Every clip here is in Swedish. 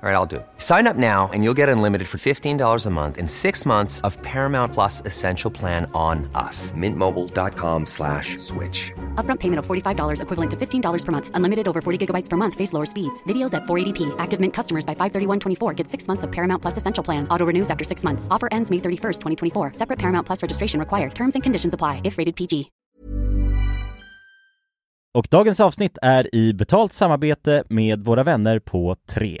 All right, I'll do it. Sign up now and you'll get unlimited for $15 a month and six months of Paramount Plus Essential Plan on us. Mintmobile.com slash switch. Upfront payment of $45 equivalent to $15 per month. Unlimited over 40 gigabytes per month. Face lower speeds. Videos at 480p. Active Mint customers by 531.24 get six months of Paramount Plus Essential Plan. Auto renews after six months. Offer ends May 31st, 2024. Separate Paramount Plus registration required. Terms and conditions apply if rated PG. Och dagens avsnitt är i betalt samarbete med våra vänner på 3.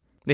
Det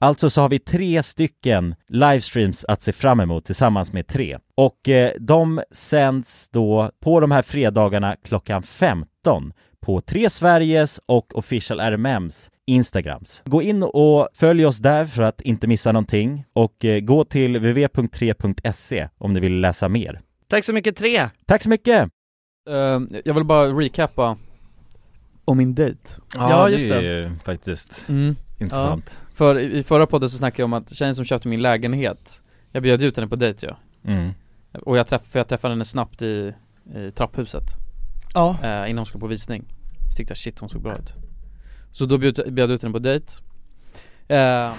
Alltså så har vi tre stycken livestreams att se fram emot tillsammans med tre. Och eh, de sänds då på de här fredagarna klockan 15 på Tre Sveriges och Official RMMs Instagrams. Gå in och följ oss där för att inte missa någonting och eh, gå till www.3.se om ni vill läsa mer. Tack så mycket tre! Tack så mycket! Eh, jag vill bara recappa Om min dejt Ja, Ja, just just det är ju faktiskt mm. intressant. För i i förra podden så snackade jag om att tjejen som köpte min lägenhet Jag bjöd ut henne på dejt ja Mm. Och jag, träff, för jag träffade henne snabbt i, i trapphuset Ja. eh, Innan hon skulle på visning Så tyckte jag shit hon såg bra ut Så då bjöd, bjöd jag ut henne på dejt eh,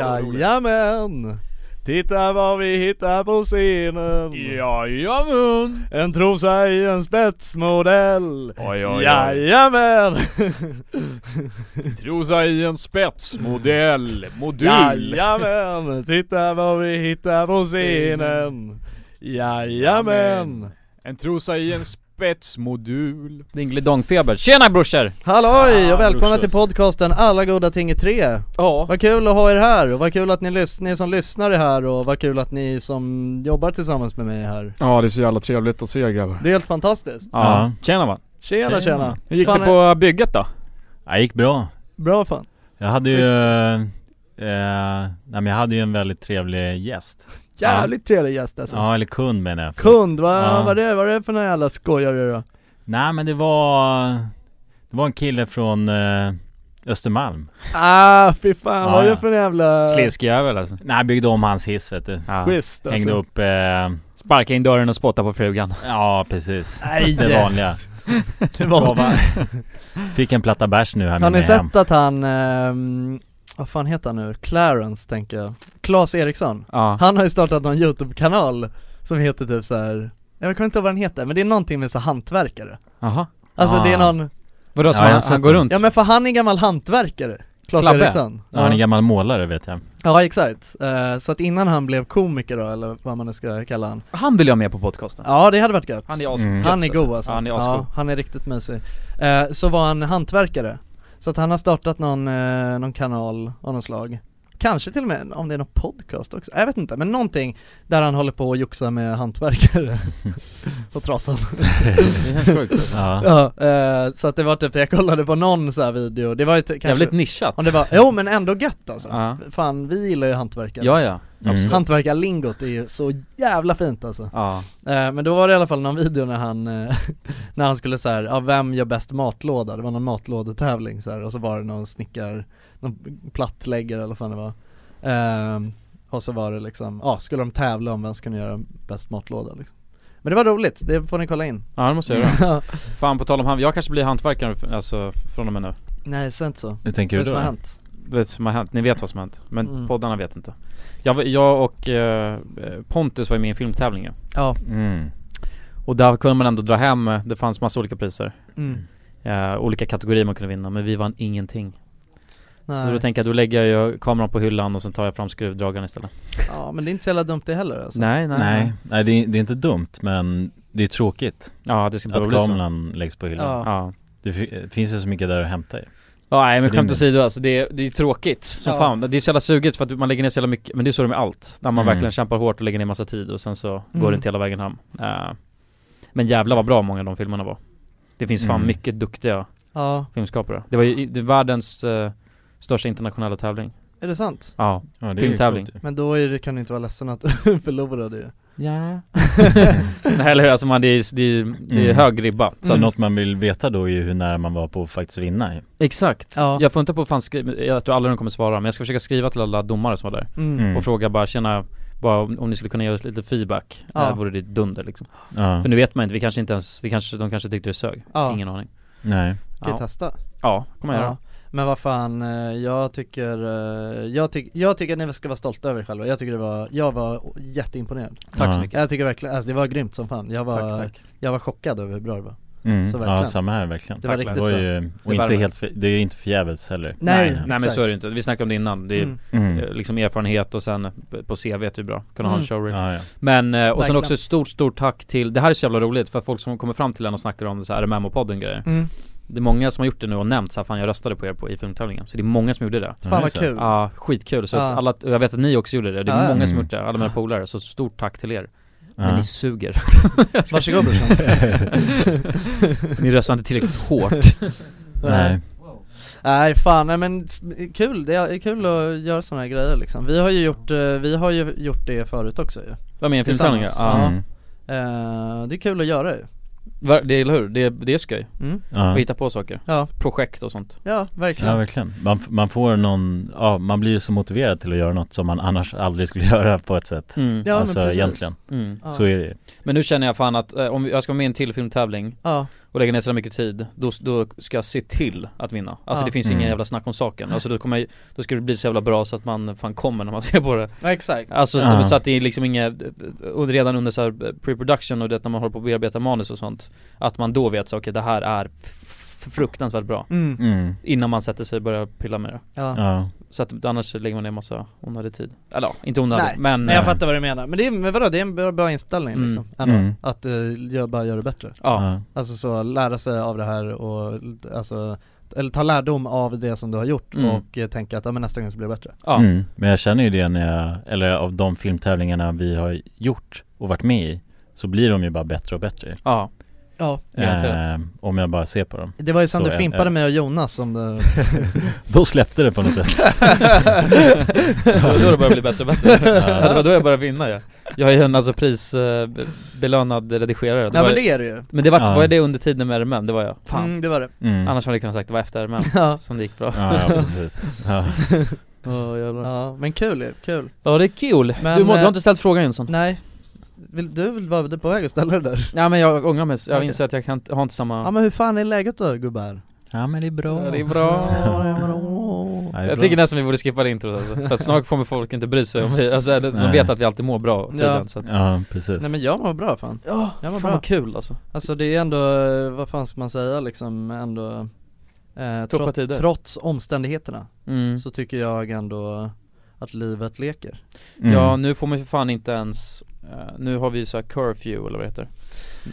Jajamän! Titta vad vi hittar på scenen! Jajamän! En trosa i en spetsmodell! Oj, oj, oj. Jajamän! Trosa i en spetsmodell, modul! Jajamän! Titta vad vi hittar på scenen! Jajamän! En trosa i en spetsmodul. Dingelidongfeber, tjena brorsor! Halloj och välkomna brorsas. till podcasten Alla goda ting i tre! Ja Vad kul att ha er här och vad kul att ni, lys- ni som lyssnar är här och vad kul att ni som jobbar tillsammans med mig är här. Ja det är så jävla trevligt att se er grabbar. Det är helt fantastiskt! Ja, tjena man Tjena Tjena. tjena! Hur gick Fan, det på bygget då? Ja, det gick bra. Bra fan! Jag hade ju... Just Eh, eh, nej men jag hade ju en väldigt trevlig gäst. Jävligt trevlig gäst alltså! Ja, eller kund menar jag. Kund, vad Ja. vad det, vad är det för några jävla skojare då? Nej men det var... Det var en kille från eh, Östermalm. Ah fy fan, Ja, vad är ja. det för en jävla... Sliskjävel alltså Nej, byggde om hans hiss vet du. ja. Schysst alltså. Hängde upp... Eh, Sparka in dörren och spotta på frugan ja, precis. Nej! Det vanliga. det var- Gav- Fick en platta bärs nu här Har med ni mig hem. sett att han, ehm, vad fan heter han nu? Clarence tänker jag Claes Eriksson Ja Han har ju startat någon YouTube-kanal som heter typ så här. jag kommer inte ihåg vad den heter, men det är någonting med så här hantverkare Jaha Alltså Ah. det är någon, Vadå, så Ja, jag han, har han sett går den. runt? ja men för han är gammal hantverkare Claes Klabbe? Eriksson Ja, han är gammal målare vet jag. Ja exakt, Eh, så att innan han blev komiker då eller vad man nu ska kalla han Han vill jag med på podcasten Ja det hade varit gött Han är asgod asgod. Mm. Han är god alltså. Ja, han är asgod Ja, han är riktigt mysig. Eh, så var han hantverkare. Så att han har startat någon, eh, någon kanal av något slag. Kanske till och med om det är någon podcast också. Jag vet inte, men någonting där han håller på och joxar med hantverkare. och trasan. Det känns sjukt Ja. ja, eh, så att det var typ, jag kollade på någon så här video, det var ju typ, kanske Jävligt nischat om det var, jo men ändå gött alltså. Ja. Fan, vi gillar ju hantverkare. Ja ja, Mm. Hantverkarlingot är ju så jävla fint alltså. ja Eh, Men då var det i alla fall någon video när han, eh, när han skulle såhär, ja vem gör bäst matlåda? Det var någon matlådetävling så här, och så var det någon snickar, någon plattläggare eller vad fan det var Ehm, Och så var det liksom, ja skulle de tävla om vem som kunde göra bäst matlåda liksom Men det var roligt, det får ni kolla in Ja det måste jag göra Fan på tal om han, jag kanske blir hantverkare f- alltså från och med nu Nej, säg inte så, Hur tänker det du som har då? hänt Du vet vad som har hänt, ni vet vad som har hänt Men Mm. poddarna vet inte Jag, var- jag och eh, Pontus var ju med i en filmtävling ju. Ja, Mm. Och där kunde man ändå dra hem, eh, det fanns massa olika priser mm. eh, Olika kategorier man kunde vinna, men vi vann ingenting Så då Nej. tänker jag, då lägger jag ju kameran på hyllan och sen tar jag fram skruvdragaren istället Ja men det är inte så jävla dumt det heller alltså. Nej Nej, nej det, är, det är inte dumt men det är tråkigt Ja det ska bara att bli så kameran läggs på hyllan. Ja. Ja Det fi- finns ju så mycket där att hämta i. Ja nej men För skämt din- åsido alltså, det är, det är tråkigt som Ja. fan Det är så jävla suget för att man lägger ner så jävla mycket, men det är så det är med allt När man Mm. verkligen kämpar hårt och lägger ner massa tid och sen så går Mm. det inte hela vägen hem Eh, Men jävlar vad bra många av de filmerna var Det finns fan Mm. mycket duktiga Ja, filmskapare Det var ju i- det är världens eh, största internationella tävling är det sant? Ja Ja, det är ju Filmtävling. coolt ju. Men då är det, kan du inte vara ledsen att du förlorade ju Ja Nej eller hur, alltså man, det är, det är, det är Mm. hög ribba Så så att, något man vill veta då är ju hur nära man var på att faktiskt vinna ju. Exakt Ja. Jag funderar på att fan skriva, jag tror aldrig de kommer svara men jag ska försöka skriva till alla domare som var där Mm. och fråga bara tjena bara om, om ni skulle kunna ge oss lite feedback, Ja. ja. vore det dunder liksom. Ja, För nu vet man inte, vi kanske inte ens, vi kanske, de kanske tyckte det sög, Ja, ingen aning nej. kan ju Ja, testa ja kommer jag Ja. göra Men vad fan, eh, jag tycker, eh, jag, tyck, jag tycker att ni ska vara stolta över er själva, jag tycker det var, jag var jätteimponerad Tack så Ja. mycket Jag tycker verkligen, alltså det var grymt som fan, jag var, Tack, tack Jag var chockad över hur bra det var Mm. Så verkligen. Ja, samma här verkligen. Det var Tack, riktigt Det var bra ju, och Det inte värmer. helt, för, det är ju inte förgäves heller. Nej, Nej men Exakt. så är det inte, vi snackade om det innan, det är Mm. Mm. eh, liksom erfarenhet och sen eh, på CV är det bra, kunna ha Mm. en showroom Ja, ja. Men, eh, och sen Verkligen. också ett stort, stort tack till, det här är så jävla roligt för folk som kommer fram till en och snackar om så här RMM-podden och grejer Mm. Det är många som har gjort det nu och nämnt så här, fan jag röstade på er på i filmtävlingen, så det är många som gjorde det Ja, Fan det är vad så. kul! Ja, skitkul, så Mm. Ja. att alla, och jag vet att ni också gjorde det, det är Ja, ja. många som Mm. gjort det, alla mina polare, så stort tack till er Men Ja. ni suger Varsågod brorsan Ni röstar inte tillräckligt hårt Nej. Nej fan, nej men s- kul, det är kul att göra sådana här grejer liksom Vi har ju gjort, eh, vi har ju gjort det förut också ju Vad med en filmtävling? Tillsammans. Ja, Mm. Eh, Det är kul att göra ju Ver- det är, eller hur? Det, är- det är skoj, mm. Ja. att hitta på saker Ja, Projekt och sånt ja Ja verkligen verkligen. Man, f- man får någon, ja man blir ju så motiverad till att göra något som man annars aldrig skulle göra på ett sätt. mm. Ja, men alltså precis. egentligen. Mm. Ja. Så är det ju. Men nu känner jag fan att eh, om jag ska vara med i en till filmtävling Ja, och lägga ner så mycket tid, då, då ska jag se till att vinna Alltså Ja. det finns Mm. ingen jävla snack om saken, alltså då kommer jag, då ska det bli så jävla bra så att man fan kommer när man ser på det exakt Alltså Ja. så att det är liksom inget, och redan under så här eh, pre-production och det när man håller på att bearbeta manus och sånt Att man då vet så okej det här är f- fruktansvärt bra mm. Mm. Innan man sätter sig och börjar pilla med det ja. Ja. Så att annars lägger man ner massa onödig tid Eller ja, inte onödig Nej, men Nej jag eh, fattar vad du menar, men det är, men vadå, det är en bra, bra inställning Mm. liksom ändå. Mm. Att uh, gör, bara göra det bättre ja, Ja. Alltså så lära sig av det här och alltså eller ta lärdom av det som du har gjort Mm. och eh, tänka att ja, men nästa gång så blir det bättre. ja, Mm. Men jag känner ju det när jag, eller av de filmtävlingarna vi har gjort och varit med i, så blir de ju bara bättre och bättre. ja, Ja, eh, om jag bara ser på dem. det var ju sen Så du är- fimpade är- mig och Jonas som du... Då släppte det på något sätt. Det var då det började bli bättre och bättre. Ja. Det var ja. då jag började vinna ja. Jag är ju en alltså prisbelönad redigerare. Det Nej var, men det är det ju. men det var, Ja. var det under tiden med RMM, det var jag. Fan. Mm, det var det. Mm. Annars hade jag kunnat sagt det var efter RMM Ja. som det gick bra. Ja, ja precis. Ja. ja, men kul ju, kul. Ja det är kul. Men, du, må, du eh, har inte ställt frågan Jönsson? Nej, vill, du vill vara på väg att ställa det där? Nej men jag ångrar mig, jag Okej. inser att jag kan, inte- har inte samma... Ja men hur fan är läget då gubbar? ja men det är bra. Ja, det är bra. Ja, det är bra. Ja, det är Jag bra. tycker nästan vi borde skippa det introt alltså. För att snart kommer folk inte bry sig om vi, alltså de Nej. vet att vi alltid mår bra tydligen Ja. så att, Ja precis. Nej men jag mår bra fan. Ja, jag mår fan bra. vad kul alltså. Alltså det är ändå, eh, vad fan ska man säga liksom, ändå Tuffa eh, trots, tider. trots omständigheterna Mm. så tycker jag ändå att livet leker. Mm. Ja nu får man ju för fan inte ens, eh, nu har vi ju så här curfew eller vad det heter.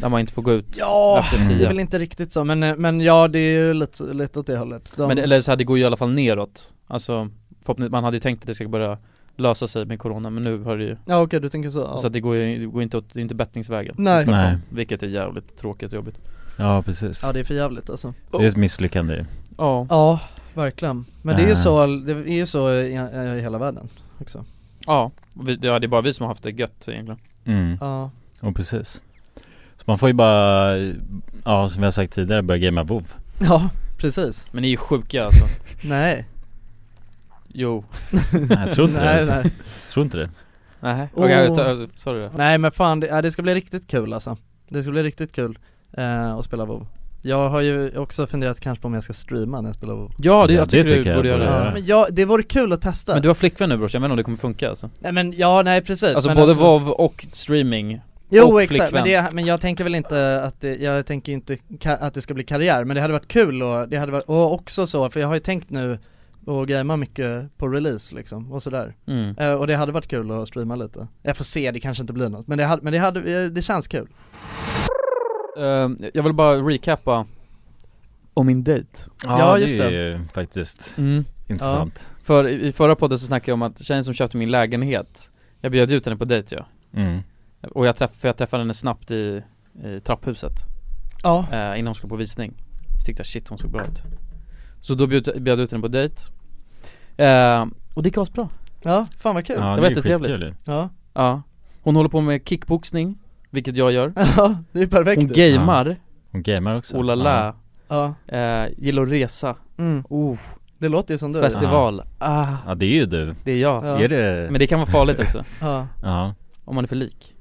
Där man inte får gå ut Ja, efter det är tio. väl inte riktigt så men, eh, men ja det är ju lite, lite åt det hållet. De, Men eller så här, det går ju i alla fall neråt. Alltså, förhoppningsvis- man hade ju tänkt att det ska börja lösa sig med corona men nu har det ju, ja okej du tänker så. så Ja. att det går ju det går inte åt, det är inte bättringsvägen. Nej. Tvärtom. Nej. Vilket är jävligt tråkigt och jobbigt. Ja precis. ja det är för jävligt alltså. Det är ett misslyckande ju. Ja. Eh. Ja, verkligen. Men det är ju Äh. så, det är ju så i, i hela världen också. Ja. Vi, ja, det är bara vi som har haft det gött egentligen. Mm. Ja, Och precis. Så man får ju bara, ja som vi har sagt tidigare, börja gamea WoW. ja precis. Men ni är ju sjuka alltså. Nej. Jo. Nej, jag tror inte det. nej, Alltså. nej. Tror inte det. Nej. Åh. Okej, ta- sorry då. nej men fan, det, ja, det ska bli riktigt kul alltså. Det ska bli riktigt kul eh, att spela WoW. Jag har ju också funderat kanske på om jag ska streama när jag spelar WoW. Ja, det, Ja, jag det tycker, tycker du jag borde göra. borde Ja, göra. men ja, det vore kul att testa. Men du har flickvän nu brors, jag menar om det kommer funka alltså. Nej men ja, nej precis. Alltså men både WoW och streaming. Jo och exakt, men, flickvän. det, men jag tänker väl inte att det, jag tänker inte ka- att det ska bli karriär, men det hade varit kul och det hade varit, och också så, för jag har ju tänkt nu och gamea mycket på release liksom och sådär. Mm. Eh, och det hade varit kul att streama lite. Jag får se, det kanske inte blir något, men det, hade, men det, hade, eh, det känns kul. Eh, jag vill bara recappa om min dejt. Ja, Ja, det just är ju faktiskt Mm. intressant. För i i förra podden så snackade jag om att tjejen som köpte min lägenhet, jag bjöd ut henne på dejt ja. Mm. Och jag, träff, för jag träffade henne snabbt i, i trapphuset, Ja. eh, innan hon skulle på visning. Så tyckte jag shit hon såg bra ut. Så då bjöd, bjöd jag ut henne på dejt. Eh, och det gick asbra. Ja, fan vad kul. Ja, Det det, var är ju jättetrevligt. skitkul ju. Ja, Ja. Hon håller på med kickboxning, vilket jag gör. ja det är ju perfekt. Hon gamer, Hon gamer också. oh la la. ja. Eh, gillar att resa, Mm. oh, Det låter ju som du. festival, ah, Ja. ja, det är ju du. det är jag. Ja. Är det? Men det kan vara farligt också, Ja, Ja. om man är för lik.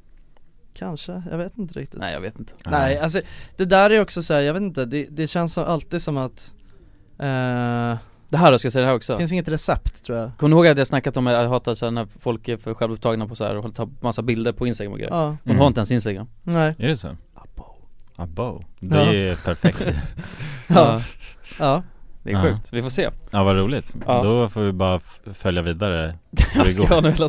kanske. Jag vet inte riktigt. Nej jag vet inte. Nej, alltså det där är också så här, jag vet inte, det, det känns som alltid som att eh, Det här då, ska jag säga det här också. Det finns inget recept tror jag. Kommer ni ihåg att jag snackat om att jag hatar såhär när folk är för självupptagna på såhär och tar massa bilder på instagram och grejer? Ja, Hon Mm. har inte ens instagram nej. Är det så? Abo. Abo. Det Ja. är ju perfekt. Ja, ja. Det är Ja. sjukt, vi får se Ja, vad roligt. Ja. Då får vi bara f- följa vidare hur Jag det ska ha går. en hela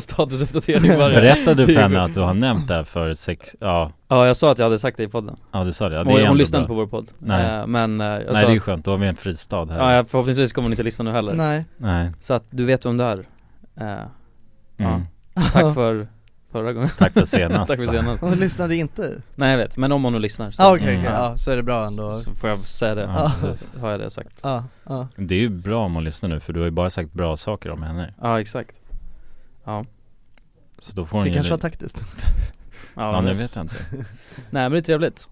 statusuppdatering varje Berättade du för henne Det att du har nämnt det här för sex, ja, Ja jag sa att jag hade sagt det i podden ja du sa det. Ja, det Hon, är hon ändå lyssnade inte bra. på vår podd Nej. Eh, Men eh, jag Nej sa det är ju att, skönt, då har vi en fristad här. ja, förhoppningsvis kommer hon inte lyssna nu heller nej. Nej. Så att du vet vem du är Eh, Mm. Tack för förra gången Tack för senast. Tack för senast Hon lyssnade inte. Nej jag vet, men om hon nu lyssnar så, Ja ah, okej, Mm. okej. ja så är det bra ändå. så får jag säga det, Ja, så har jag det sagt Ja, ja. Det är ju bra om hon lyssnar nu för du har ju bara sagt bra saker om henne. Ja exakt Ja, Så då får hon Det ju kanske var lite- taktiskt. ja, Ja, nu men- vet jag inte. Nej men det är trevligt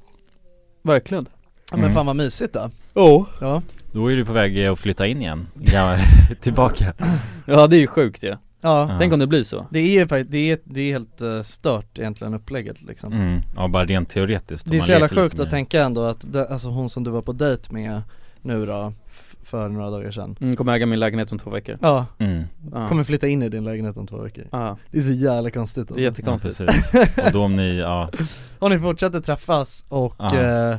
Verkligen Ja, men Mm. fan vad mysigt då. Oh. Ja. Då är du på väg eh, att flytta in igen. Ja, tillbaka. Ja det är ju sjukt ju, Ja. Ja. tänk om det blir så Det är ju faktiskt, det är, det är helt eh, stört egentligen upplägget liksom. Mm. Ja, bara rent teoretiskt. om Det är man så jävla leker lite sjukt med att det. tänka ändå att, det, alltså hon som du var på dejt med nu då, f- för några dagar sedan. mm, Kommer äga min lägenhet om två veckor Ja, Mm. Ja. kommer flytta in i din lägenhet om två veckor. Ja, Det är så jävla konstigt alltså. det är Ja, jättekonstigt precis. Och då om ni, ja, Om ni fortsätter träffas och, Ja. eh,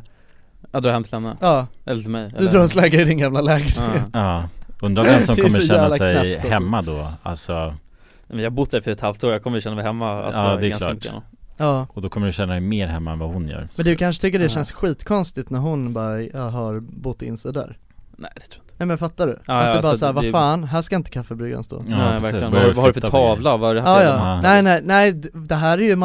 Jag drar hem till henne, ja, eller till mig du eller... drar en slagga i din gamla lägenhet. Ja. Nej, ja. Undrar vem som Det är kommer så känna jävla sig knäppt, alltså. hemma då. Alltså, Men jag har bott där för ett halvt år, jag kommer känna mig hemma alltså, Ja, det är ganska klart. mycket. Ja. och då kommer du känna dig mer hemma än vad hon gör. Men du kanske tycker det Ja. känns skitkonstigt när hon bara ja, har bott in sig där? Nej det tror jag inte Nej men fattar du? ja, att du bara alltså, såhär, vad det- fan, här ska inte kaffebryggaren stå Ja, Nej precis. verkligen, vad Börjar har, vad har du för flytta på grejer. tavla? Vad är det här Ja, för ja. Ja. Nej nej, nej d- det här är ju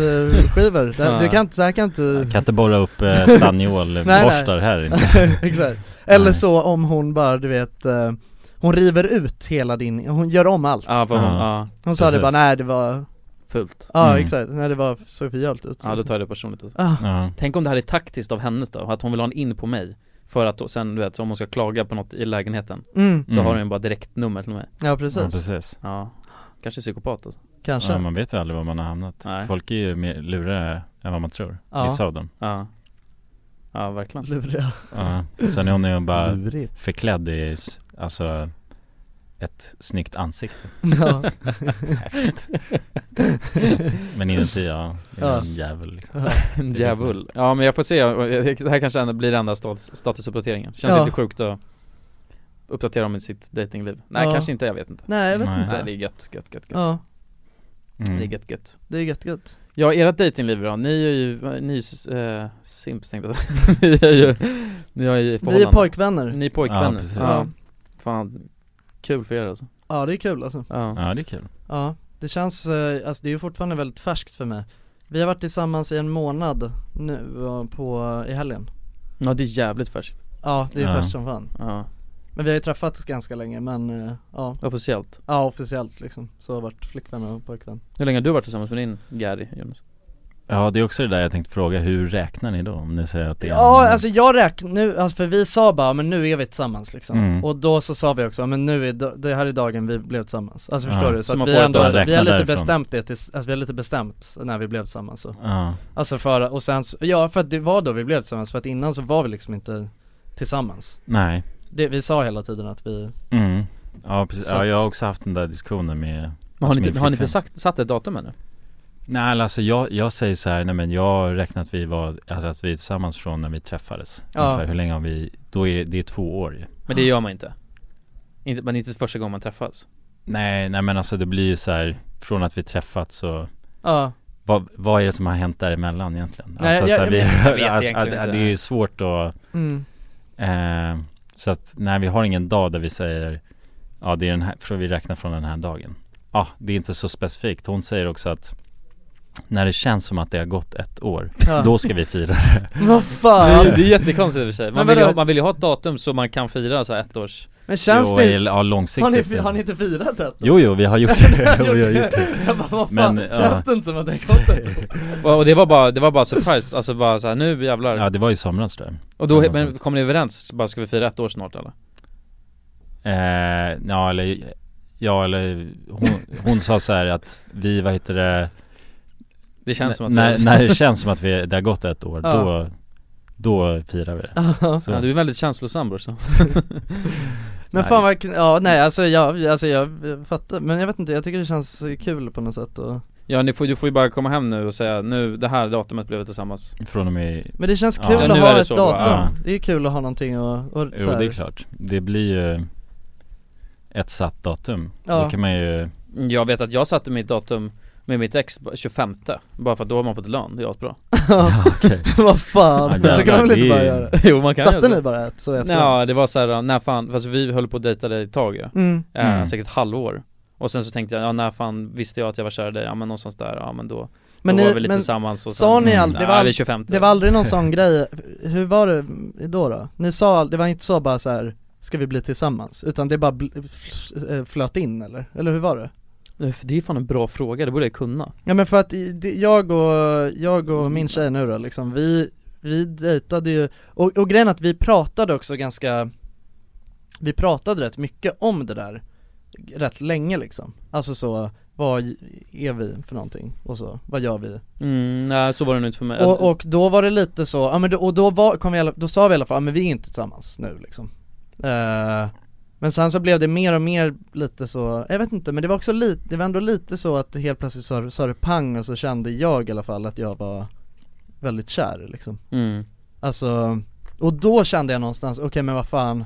masonitskivor, det, det kan inte, så här kan inte Kan inte borra upp eh, stanniolborstar här inte. Exakt. Eller Nej. så om hon bara, du vet, eh, hon river ut hela din, hon gör om allt. Ja, vad, Ja. ja, Hon sa det bara, precis. nej det var, fult ja Mm. exakt, nej det var, såg för jävligt ut. Ja då tar jag det personligt alltså. Ah, Ja. Tänk om det här är taktiskt av hennes då, att hon vill ha en in på mig För att då, sen du vet, så om hon ska klaga på något i lägenheten mm, Så Mm. har hon ju bara direktnummer till mig ja Ja, precis, precis. Ja, kanske psykopat alltså kanske. Ja, man vet ju aldrig var man har hamnat. Nej. Folk är ju mer lurigare än vad man tror. Ja. Vissa av dem. Ja Ja verkligen Luriga. Ja. Sen är hon ju bara Lurigt. förklädd i, s- alltså, ett snyggt ansikte. Ja. Men inuti, ja, är Ja. en jävel liksom. En djävul Ja men jag får se, det här kanske ändå blir enda stat- statusuppdateringen Känns Ja. lite sjukt att uppdatera om sitt datingliv Nej Ja. kanske inte, jag vet inte Nej jag vet Nej. inte. Nej det är gött, gött, gött, gött Ja, Det Mm. är gött, gött det är gött gött. Ja, ert dejtingliv då? Ni är ju, ni är ju, eh, simps tänkte jag säga. Ni är ju, ni är ju i Vi är förhållande. pojkvänner. Ni är pojkvänner. Ja, precis. Ja, Ja. Fan, kul för er alltså. ja det är kul alltså. Ja. Ja, det är kul. Ja, det känns, eh, alltså det är ju fortfarande väldigt färskt för mig. Vi har varit tillsammans i en månad nu eh, på, i helgen. ja, det är jävligt färskt. Ja det är Ja. färskt som fan. Ja, Men vi har ju träffats ganska länge men eh, ja, officiellt. ja officiellt liksom så har jag varit flickvän och pojkvän Hur länge har du varit tillsammans med din Gary, Jonas? Ja, det är också det där jag tänkte fråga, hur räknar ni då? Om ni säger att det är Ja en, alltså jag räknar nu, alltså för vi sa bara men nu är vi tillsammans liksom Mm. Och då så sa vi också, men nu är da- det här är dagen vi blev tillsammans Alltså Ja, förstår du? Så, så att man vi, får ändå, bara vi räkna har lite därifrån. bestämt det tills, alltså vi har lite bestämt när vi blev tillsammans så. Ja, Alltså för, och sen så, ja för att det var då vi blev tillsammans för att innan så var vi liksom inte tillsammans nej. det, Vi sa hela tiden att vi, Mm. Ja, precis. Så Ja, att- jag har också haft den där diskussionen med Men har ni, Alltså, min inte- har ni flickvän. inte sagt, satt ett datum ännu? Nej alltså jag, jag säger så här, nej men jag räknar att vi var, alltså att vi är tillsammans från när vi träffades Ja. Ungefär, hur länge har vi, då är det, det är två år ju Men det gör man inte. inte men inte första gången man träffas. Nej, nej men alltså det blir ju så här, från att vi träffats så ja vad, vad är det som har hänt däremellan egentligen? Nej, alltså jag- så här, jag vi, vet- jag vet att- egentligen att, inte. att, Det är ju svårt att, mm. eh, så att nej vi har ingen dag där vi säger Ja det är den här, för vi räknar från den här dagen Ja, det är inte så specifikt, hon säger också att när det känns som att det har gått ett år, Ja. då ska vi fira Vad fan? Det, det är jättekonstigt i och för sig. Man Men vill, ju, vadå? ha- man vill ju ha ett datum så man kan fira så här ett års... Men känns jo, det, eller, Ja långsiktigt har ni, sen. har ni inte firat det? Jo, jo, vi har gjort det. Gjort vi har det. gjort det. Jag bara, vad fan, Men, känns ja. det inte som att det har gått ett år? Och det var bara, det var bara surprise, alltså bara så här, nu jävlar. Ja, det var i somras där. och då, det var men sant. kom ni överens? Så bara ska vi fira ett år snart eller? Eh, ja, eller, ja, eller hon, hon sa så här att vi, vad heter det, Det känns som att vi- när, när det känns som att vi, det har gått ett år, Ja. då, då firar vi det. Så, Ja, du är väldigt känslosam brorsan Men Nej. fan vad, kn- ja nej alltså jag, alltså jag fattar, men jag vet inte, jag tycker det känns kul på något sätt och, Ja ni får, du får ju bara komma hem nu och säga nu, det här datumet blev vi tillsammans från och med, Men det känns Ja. kul Ja, att nu är ha det ett så datum, bara, ja. det är kul att ha någonting och, och jo så här. det är klart, det blir ju ett satt datum. Ja. Då kan man ju, Jag vet att jag satte mitt datum med mitt ex på 25 Bara för att då har man fått lön, det är bra ja okej. Vad fan, Ja, så kan man väl det inte bara är- göra? det? Jo man Satte ni bara ett så efter? Ja det var såhär, när fan, fast vi höll på att dejta dig ett tag ju Mm. eh, Mm. Säkert ett halvår Och sen så tänkte jag, ja när fan visste jag att jag var kär i dig? Ja men någonstans där, ja men då, Men, då var vi ni, lite men tillsammans och sa sen, ni Mm. aldrig, det var, ja, vi typ. all, 25 det var aldrig någon sån grej, hur var det då då? Ni sa, det var inte så bara så här. Ska vi bli tillsammans? Utan det bara bl- fl- eh, flöt in eller? Eller hur var det? Det är fan en bra fråga, det borde jag kunna Ja men för att i- det- jag och, jag och min tjej nu då liksom, vi, vi dejtade ju, och, och grejen är att vi pratade också ganska, vi pratade rätt mycket om det där rätt länge liksom. Alltså så, vad är vi för någonting? Och så, vad gör vi? mm, Nej så var det nog inte för mig Och, och då var det lite så, ja men då, och då, var, kom vi, i alla- då sa vi i alla fall, ja, men vi är inte tillsammans nu liksom Eh, Men sen så blev det mer och mer lite så, jag vet inte men det var också lite, det var ändå lite så att det helt plötsligt sa sa det pang och så kände jag i alla fall att jag var väldigt kär liksom mm. Alltså, och då kände jag någonstans, okej men vad fan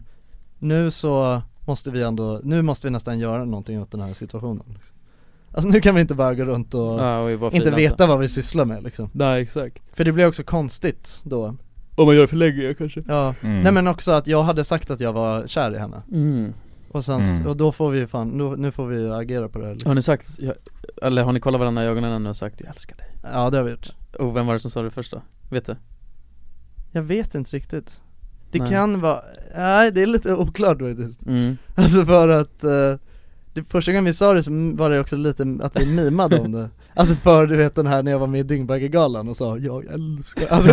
Nu så måste vi ändå, nu måste vi nästan göra någonting åt den här situationen liksom. Alltså nu kan vi inte bara gå runt och ja, och vi var alltså. inte frilansa. veta vad vi sysslar med liksom Nej exakt för det blir också konstigt då Om man gör det för länge kanske Ja, Mm. nej men också att jag hade sagt att jag var kär i henne Mm. Och sen, s- Mm. och då får vi ju fan, då, nu får vi ju agera på det här, liksom. Har ni sagt, jag- eller har ni kollat varandra i ögonen ännu och sagt 'Jag älskar dig'? Ja det har vi gjort Och vem var det som sa det första? Vet du? Jag vet inte riktigt Det Nej. kan vara, nej det är lite oklart faktiskt Mm. Alltså för att, eh, det första gången vi sa det så m- var det också lite att vi mimade om det Alltså för du vet den här när jag var med i Dyngbaggegalan och sa 'Jag älskar' Alltså,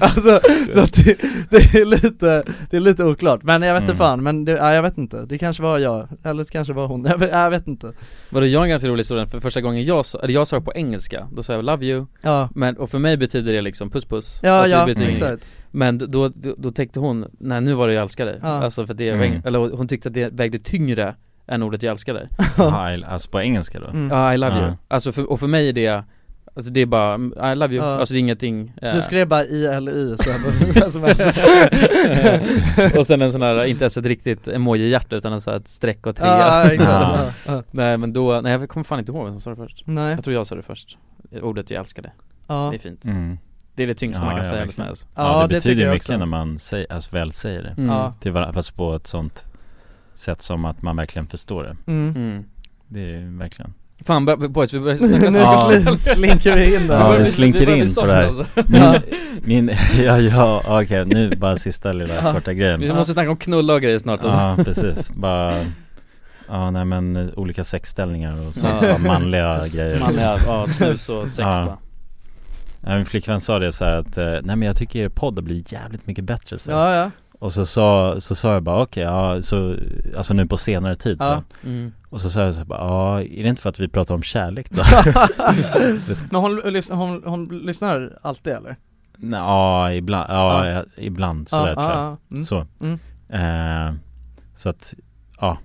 alltså så att det, det är lite, det är lite oklart Men jag vet inte Mm. fan, men det, ja, jag vet inte Det kanske var jag, eller det kanske var hon, jag vet, jag vet inte Var det jag har en ganska rolig historia, för första gången jag sa, eller jag sa det på engelska, då sa jag 'Love you' Ja, Men, och för mig betyder det liksom puss puss ja, Alltså, det ja betyder inget. exakt Men då, då, då tänkte hon, nej nu var det jag älskar dig Ja. Alltså för det, Mm. eller hon tyckte att det vägde tyngre än ordet jag älskar dig Ja, I- alltså på engelska då? mm. Ja, I love you Ja. Alltså för, och för mig är det, alltså det är bara, mm, I love you, Ja. alltså det är ingenting eh, Du skrev bara I eller Y så alltså, här, vem som helst Och sen en sån här, inte ens ett riktigt emoji-hjärta utan en sån här ett streck och trea Ja, exakt. Ja. Ja, ja. Nej men då, nej jag kommer fan inte ihåg vem som sa det först Nej, Jag tror jag sa det först, ordet jag älskar dig, ja det är fint Mm. Det är det tyngsta Ja, man kan ja, säga verkligen. med alltså. Ja, det tycker betyder jag mycket också. när man säger, alltså väl säger det Mm. Ja, Till varandra, fast på ett sånt sätt som att man verkligen förstår det mm. Mm. Det är ju verkligen Fan bra- boys, vi börjar Nu Ja. sl- slinker vi in Ja, där vi slinker in på det här. Ja. Min, min ja, ja okej nu bara sista lilla korta grejen Vi måste snacka om knulla och grejer snart alltså. Ja precis, bara Ja nej men eh, olika sexställningar och sånt, Ja. bara manliga grejer Man liksom. är, ja, snus och sex Ja. bara. Nej, Min flickvän sa det så här att, eh, nej men jag tycker er podd blir jävligt mycket bättre så. Ja, ja, Och så sa, så sa jag bara okej, ja så, alltså nu på senare tid så. Ja. Mm. Och så sa jag så här bara, ja är det inte för att vi pratar om kärlek då? men hon, lyssnar- hon, hon lyssnar alltid eller? Nej, ja ibland, ja, Ja. ja. ibland Ja, sådär tror jag ja, ja. Mm. Så. Mm. Eh, så att, ja.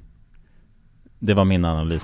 Det var min analys.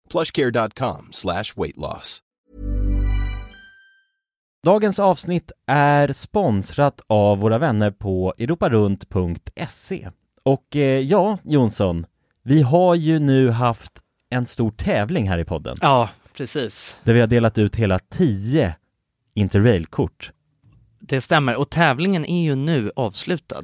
plushcare.com slash weight loss. Dagens avsnitt är sponsrat av våra vänner på europarunt.se Och eh, ja, Jonsson, vi har ju nu haft en stor tävling här i podden Ja, precis där vi har delat ut hela 10 Interrail-kort Det stämmer, och tävlingen är ju nu avslutad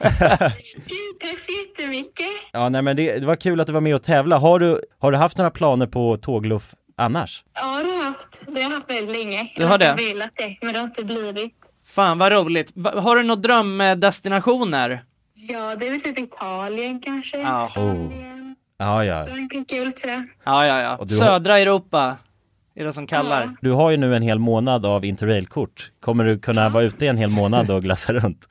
Tack så jättemycket. Ja, nej men det, det var kul att du var med och tävla. Har du, har du haft några planer på tågluff annars? Ja, det har jag haft. Det har jag haft väldigt länge. Du har Jag det? har velat det, men det har inte blivit. Fan vad roligt. Va- Har du några drömdestinationer? Ja, det är väl typ Italien kanske. Ja. Oh. Ja, ja. Frankrike kul tror jag. Ja, ja, ja. Och du har- Södra Europa är det som kallar. Du har ju nu en hel månad av interrailkort. Kommer du kunna vara ute i en hel månad och glassa runt?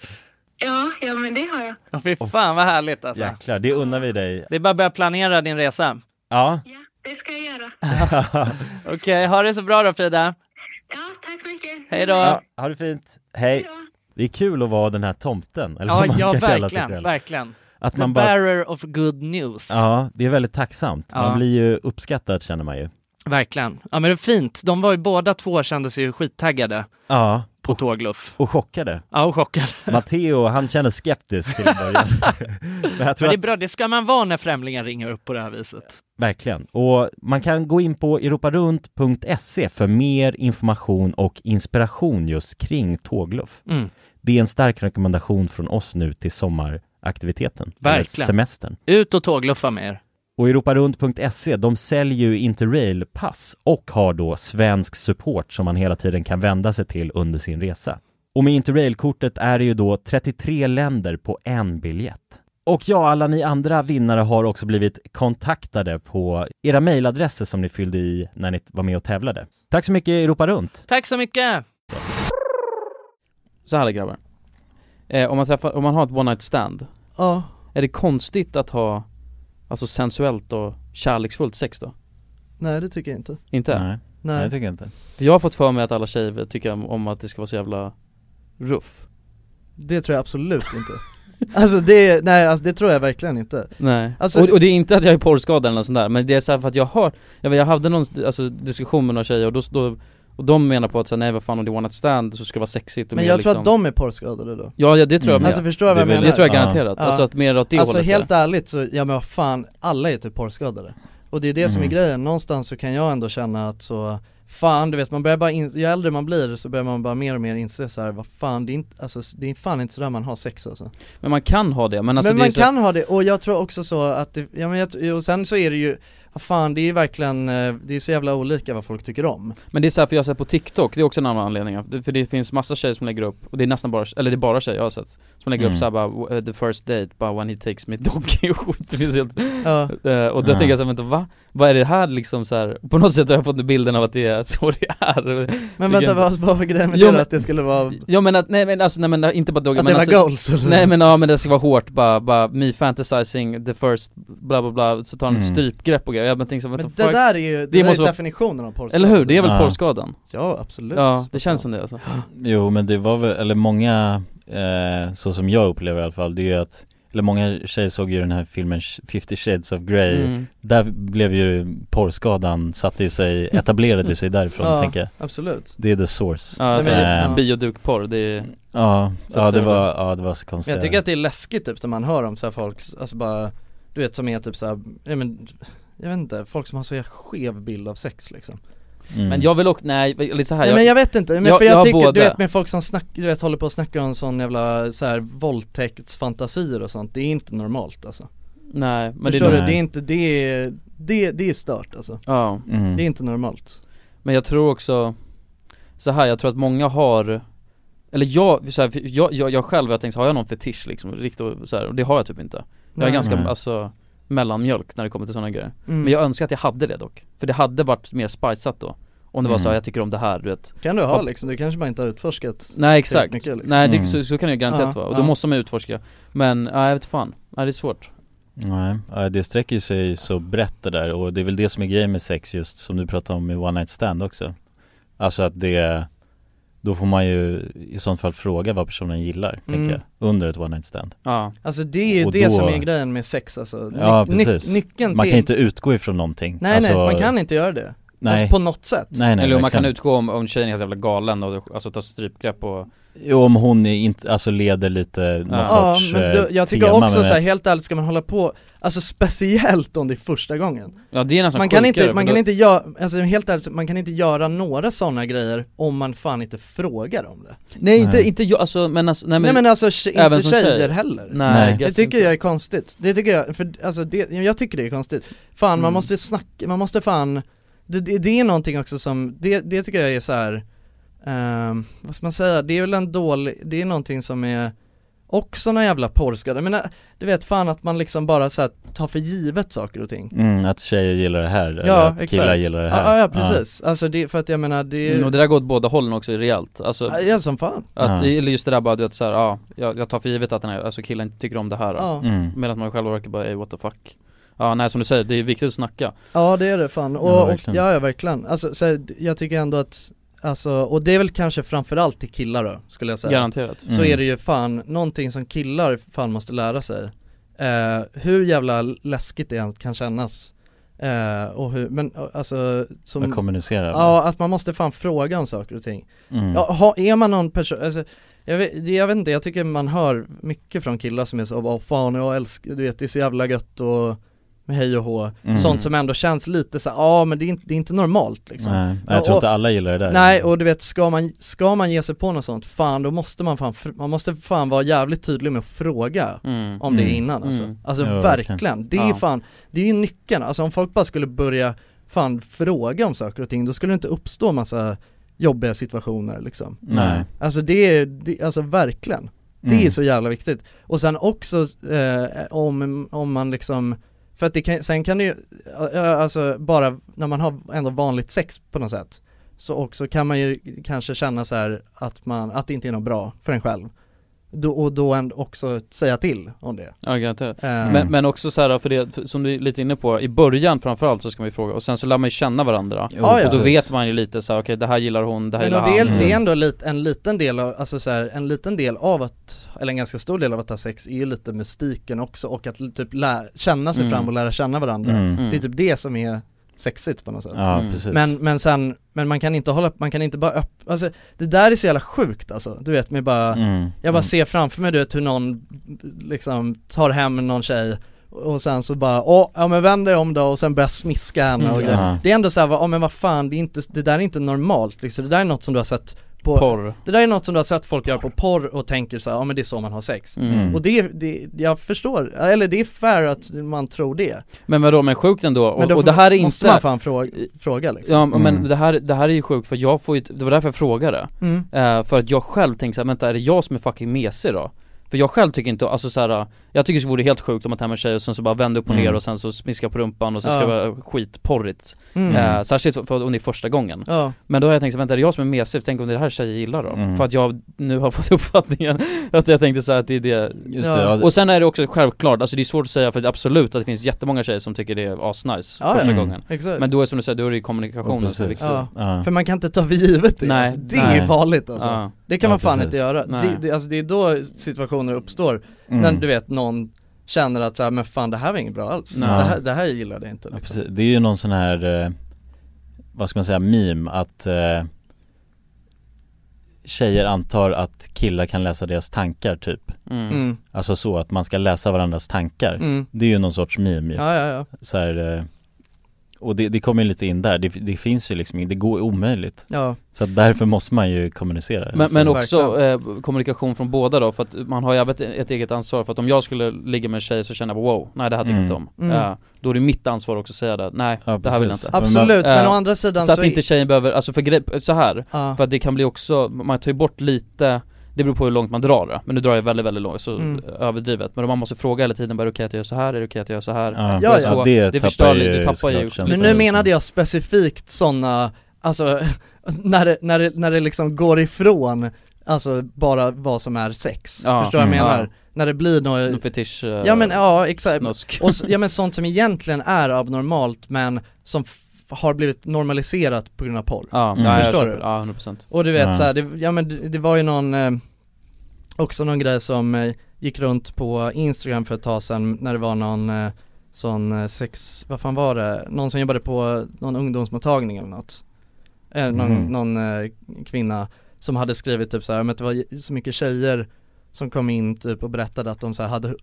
Ja, ja, men det har jag. Åh, fy fan vad härligt alltså. Jäklar, det unnar vi dig. Det är bara att börja planera din resa. Ja. Det ska jag göra. Okej, ha det så bra då Frida. Ja, tack så mycket. Hej då. ja, ha det fint. Hej. Det är kul att vara den här tomten, eller Ja, vad man ska ja kalla sig verkligen, själv. verkligen. Att The man bara- bearer of good news. Ja, det är väldigt tacksamt. Man Ja. blir ju uppskattad känner man ju. Verkligen. Ja men det är fint. De var ju båda två kände sig ju skittaggade Ja, på tågluff. och chockade. Ja, och chockade. Matteo, han känner skeptisk till en början. Men jag tror Men det är att, bra, det ska man vara när främlingar ringer upp på det här viset. verkligen. Och man kan gå in på europarunt.se för mer information och inspiration just kring tågluff. Mm. Det är en stark rekommendation från oss nu till sommaraktiviteten. eller Verkligen. Semestern. Ut och tågluffa med er. Och europarunt.se, E, de säljer ju Interrail-pass och har då svensk support som man hela tiden kan vända sig till under sin resa. Och med Interrail-kortet är det ju då 33 länder på en biljett. Och ja, alla ni andra vinnare har också blivit kontaktade på era mejladresser som ni fyllde i när ni var med och tävlade. Tack så mycket Europa Runt! Tack så mycket! Så här grabbar. Eh, om, man träffar, om man har ett one night stand, Ja. är det konstigt att ha alltså sensuellt och kärleksfullt sex då? Nej det tycker jag inte Inte? Nej. Nej. Nej, jag tycker inte För jag har fått för mig att alla tjejer tycker om- om att det ska vara så jävla ruff Det tror jag absolut inte Alltså det, nej alltså det tror jag verkligen inte Nej, Alltså- och, och det är inte att jag är porrskadad eller något sånt där, men det är så här för att jag har, jag, vet, jag hade någon alltså, diskussion med några tjejer och då, då och de menar på att så här, nej vad fan om det är one night stand så ska det vara sexigt och Men mer jag liksom... tror att de är porrskadade då Ja, ja det tror jag med. Alltså förstår du vad jag Det är menar? väl- det tror jag garanterat. Alltså att mer åt det Alltså hållet, helt ärligt så, ja men vad fan, alla är typ porrskadade Och det är det som är Mm. grejen, någonstans så kan jag ändå känna att så Fan du vet, man börjar bara in, ju äldre man blir så börjar man bara mer och mer inse så här, vad fan det är inte, alltså det är fan inte sådär man har sex alltså Men man kan ha det, men alltså men det är man så- kan ha det, och jag tror också så att det, ja, men jag, och sen så är det ju, vad fan det är ju verkligen, eh, det är så jävla olika vad folk tycker om Men det är så här, för jag har sett på TikTok, det är också en annan anledning av- det- För det finns massa tjejer som lägger upp, och det är nästan bara, eller det är bara tjejer jag har sett Som lägger Mm. upp såhär bara, "W- the first date, bara when he takes me donkey och skit, det finns helt Ja. Eh, Och då Ja. tänker jag såhär, vänta va? Vad är det här liksom så här? På något sätt har jag fått bilden av att det är så det är Men Tycker vänta jag- vad vad var grejen med Jo, det då? men- att det skulle vara Ja men att, nej men alltså nej men inte bara doggy Att men det var alltså, goals, eller? Nej men ja men det ska vara hårt bara, bara me fantasizing the first bla bla bla, så tar han ett Mm. strypgrepp och grejer, jag bara tänker så, här, Men what the det fuck? där är ju, det, där är måste vara- definitionen av porrskada Eller hur? Det är väl Ja. porrskadan? Ja absolut Ja, det känns som det alltså Jo men det var väl, eller många, eh, så som jag upplever i alla fall, det är ju att eller många tjejer såg ju den här filmen 50 shades of Grey Mm. Där blev ju porrskadan, satte ju sig, etablerade sig därifrån Ja, tänker jag absolut. Det är the source Ja, alltså, eh, Ehm, biodukporr, det är mm. Ja, Så att ja säga. det var, ja det var så konstigt Men jag tycker att det är läskigt typ när man hör om så här folk, alltså bara, du vet som är typ så här, ja men, jag vet inte, folk som har så här skev bild av sex liksom Mm. Men jag vill också, nej, eller så här, Nej men jag vet inte, men för jag, tycker, du vet med folk som snack, du vet håller på och snackar om sån jävla så här våldtäktsfantasier och sånt, det är inte normalt alltså Nej, men det- Förstår du? Nej. Det är inte, det är, det, det är stört alltså Ja. Mm. Det är inte normalt Men jag tror också, så här, jag tror att många har Eller jag, så här, för jag, jag, jag själv, jag tänkte har jag någon fetisch liksom, riktigt och så här, och det har jag typ inte Jag är Nej. ganska, Nej. alltså mellanmjölk när det kommer till sådana grejer Mm. Men jag önskar att jag hade det dock, för det hade varit mer spiceat då Om det var så här, Mm. jag tycker om det här, du vet Kan du ha Hopp- liksom, du kanske bara inte har utforskat Nej exakt, tillräckligt mycket, liksom. nej det, så, så kan det garanterat Ja, vara, och ja. då måste man utforska Men, nej jag vet fan, nej det är svårt Nej, eh, det sträcker ju sig så brett det där och det är väl det som är grejen med sex just som du pratade om i One Night Stand också Alltså att det, då får man ju i sånt fall fråga vad personen gillar, Mm. tänker jag, under ett One Night Stand Ja Alltså det är ju Och det då- som är grejen med sex alltså, Ja Nyc- nyc- precis, nyckeln man till... kan inte utgå ifrån någonting Alltså, Nej nej, man kan inte göra det Nej. Alltså på något sätt Nej, nej, Eller om man verkligen. kan utgå om, om tjejen är helt jävla galen och alltså tar strypgrepp och Jo om hon är inte, alltså leder lite någon Ja, sorts men eh, så, jag tycker tema också med så här, ett- helt ärligt ska man hålla på, alltså speciellt om det är första gången Ja det är nästan Man kan sjukare, inte, för man Alltså, då- kan inte göra, alltså helt ärligt, så- man kan inte göra några sådana grejer om man fan inte frågar om det Nej inte, inte jag, alltså men alltså, nej Nej men, men, alltså tje- inte även som tjejer tjej. heller Nej, Det jag tycker jag är konstigt, det tycker jag, för alltså det, jag tycker det är konstigt Fan man Mm. måste snacka, man måste fan Det, det, det är någonting också som, det, det tycker jag är så här. ehm, vad ska man säga, det är väl en dålig, det är någonting som är Också någon jävla porrskada, jag menar, du vet fan att man liksom bara så här, tar för givet saker och ting mm, att tjejer gillar det här, eller att killar gillar det här Ja, ja precis, alltså det, för att jag menar det är Mm, och det där går åt båda hållen också rejält, alltså Ja, som fan. att, Ja. Eller just det där bara du vet såhär, ja, jag, jag tar för givet att den här, alltså killen inte tycker om det här Ja. Mm. Medan man själv verkar bara, ey what the fuck Ja nej som du säger, det är viktigt att snacka Ja det är det fan, och Ja, ja, och, verkligen. ja, ja verkligen. Alltså, så här, jag tycker ändå att Alltså, och det är väl kanske framförallt till killar då, skulle jag säga Garanterat. Så Mm. är det ju fan, någonting som killar fan måste lära sig eh, Hur jävla läskigt det än kan kännas eh, och hur, men eh, alltså som, Att kommunicera med. Ja, att man måste fan fråga om saker och ting Mm. ja, ha, Är man någon person, alltså, jag vet, det- jag vet inte, jag tycker man hör mycket från killar som är så, åh fan jag älskar, du vet det är så jävla gött och hej och hå Mm. Sånt som ändå känns lite så här, ja men det är inte, det är inte normalt liksom Nej, jag tror Och- inte alla gillar det där. Nej och du vet, ska man, ska man ge sig på något sånt, fan då måste man fan, fr- man måste fan vara jävligt tydlig med att fråga Mm. om det Mm. innan alltså Mm. Alltså Ja, verkligen. verkligen, det är ju Ja. fan, det är ju nyckeln, alltså om folk bara skulle börja fan fråga om saker och ting, då skulle det inte uppstå massa jobbiga situationer liksom Nej. Alltså det är, det, alltså verkligen Det är Mm. så jävla viktigt. Och sen också eh, om, om man liksom För att det kan, sen kan det ju, eh, alltså bara när man har ändå vanligt sex på något sätt Så också kan man ju kanske känna så här att man, att det inte är något bra för en själv då, Och då ändå också säga till om det Ja garanterat. Eh. Men, men också så här, för det, för, som du är lite inne på, i början framförallt så ska man ju fråga och sen så lär man ju känna varandra Jo, Ja, ja. Och då precis. vet man ju lite så här, okej det här gillar hon, det här Men och gillar det, är, han det är ändå lit, en liten del av, alltså så här, en liten del av att, eller en ganska stor del av att ha sex är ju lite mystiken också och att l- typ lä, känna sig Mm. fram och lära känna varandra. Mm. Det är Mm. typ det som är sexigt på något sätt. Ja, Mm. precis. Men, men sen, men man kan inte hålla, man kan inte bara öpp, alltså det där är så jävla sjukt alltså, du vet med bara, Mm. jag bara Mm. ser framför mig du vet hur någon liksom tar hem någon tjej och sen så bara, åh, ja men vänd dig om då och sen börjar smiska henne och Mm. grejer. Ja. Det är ändå såhär, ja men vad fan, det, är inte, det där är inte normalt liksom. Det där är något som du har sett på Porr. Det där är något som du har sett folk göra på porr och tänker såhär, ja men det är så man har sex Mm. Och det, det, jag förstår, eller det är fair att man tror det Men vadå, men sjukt ändå, och, Men då och det här är måste inte man fan fråga, fråga liksom Ja men det, här, det här är ju sjukt för jag får ju, det var därför jag frågade Mm. Eh, För att jag själv tänkte såhär, vänta är det jag som är fucking mesig då? För jag själv tycker inte, alltså såhär, jag tycker det vore helt sjukt om man tar hem en tjej och sen så bara vänder upp och ner Mm. och sen så smiskar på rumpan och sen ska Ja. det vara skitporrigt Mm. eh, Särskilt för- för om det är första gången Ja. Men då har jag tänkt såhär, vänta är det jag som är mesig? Tänk om det är det här tjejer gillar då? Mm. För att jag nu har fått uppfattningen att jag tänkte såhär att det är det Just det, ja. Och sen är det också självklart, alltså det är svårt att säga för att absolut att det finns jättemånga tjejer som tycker det är asnice Ja, första ja. gången Exakt. Men då är det som du säger, då är det ju kommunikationen som är viktig liksom. Ja. För man kan inte ta för givet det, Nej. alltså, det Nej. är farligt alltså. Ja. Det kan Ja, man fan precis. inte göra, Nej. det, det, alltså, det är då situationer uppstår, Mm. när du vet någon känner att så här, men fan det här var inget bra alls, Nej. det, här, det här gillade jag inte Ja, liksom. precis. Det är ju någon sån här, eh, vad ska man säga, meme att eh, tjejer antar att killar kan läsa deras tankar typ. Mm. Mm. Alltså så att man ska läsa varandras tankar. Mm. Det är ju någon sorts meme ju. Ja, ja, ja. Så här, eh, och det, det kommer ju lite in där, det, det finns ju liksom det går omöjligt. Ja. Så att därför måste man ju kommunicera. Men, Alltså. men också eh, kommunikation från båda då, för att man har ju även ett, ett eget ansvar för att om jag skulle ligga med en tjej så känner jag bara, wow, nej det här tycker jag Mm. inte om Mm. Ja, Då är det mitt ansvar också att säga det, nej det här vill jag precis. inte Absolut, men Eh, å andra sidan Så att så är- inte tjejen behöver, alltså för grej, så här Ja. för att det kan bli också, man tar ju bort lite Det beror på hur långt man drar då. Men nu drar jag väldigt, väldigt långt, så Mm. överdrivet. Men man måste fråga hela tiden, bara, är det okej att jag gör så här? Är det okej att jag gör så här? Ja. Och Ja, så, ja. Det det tappar förstör ju ju, det tappar ju såklart Men nu menade jag specifikt sådana, alltså när det, när det, när det liksom går ifrån, alltså bara vad som är sex, Ja. förstår vad jag Mm. menar? Ja. När det blir något Någon fetisch, eh, Ja men ja, exakt, snusk. och, s- ja men sånt som egentligen är abnormalt men som f- har blivit normaliserat på grund av porr Ja, ja, jag Förstår köper. du? Ja, 100%. Och du vet Ja. så här, det, ja men det, det var ju någon eh, Också någon grej som eh, gick runt på Instagram för ett tag sedan när det var någon eh, sån eh, sex, vad fan var det? Någon som jobbade på någon ungdomsmottagning eller något eh, Någon, Mhm. någon eh, kvinna som hade skrivit typ så här, men att det var j- så mycket tjejer som kom in typ och berättade att de så här hade,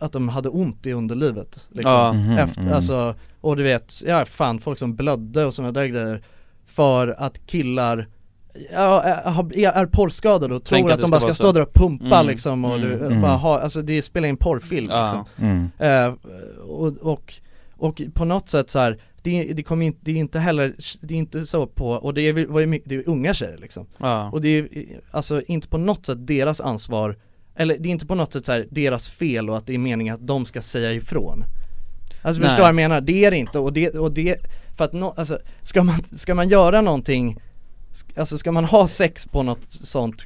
att de hade ont i underlivet liksom. Ja. Mhm, Efter, mm. alltså, och du vet, ja fan folk som blödde och sådana där grejer För att killar Ja, är, har- är är porrskadade och Tänk tror att att det de ska bara vara ska så. stå där och pumpa Mm, liksom och mm, du, mm. bara ha, alltså det spelar in porrfilm Ja. liksom Mm. Eh, och, och, och på något sätt så här, det, det kommer ju inte, det är inte heller, det är inte så på, och det är, väl- var ju mycket, det är ju unga tjejer liksom Ja. Och det är ju, alltså inte på något sätt deras ansvar, eller det är inte på något sätt så här, deras fel och att det är meningen att de ska säga ifrån Alltså Nej. förstår vad jag menar? Det är det inte och det, och det, för att nå alltså, ska man, ska man göra någonting sk- Alltså ska man ha sex på något sånt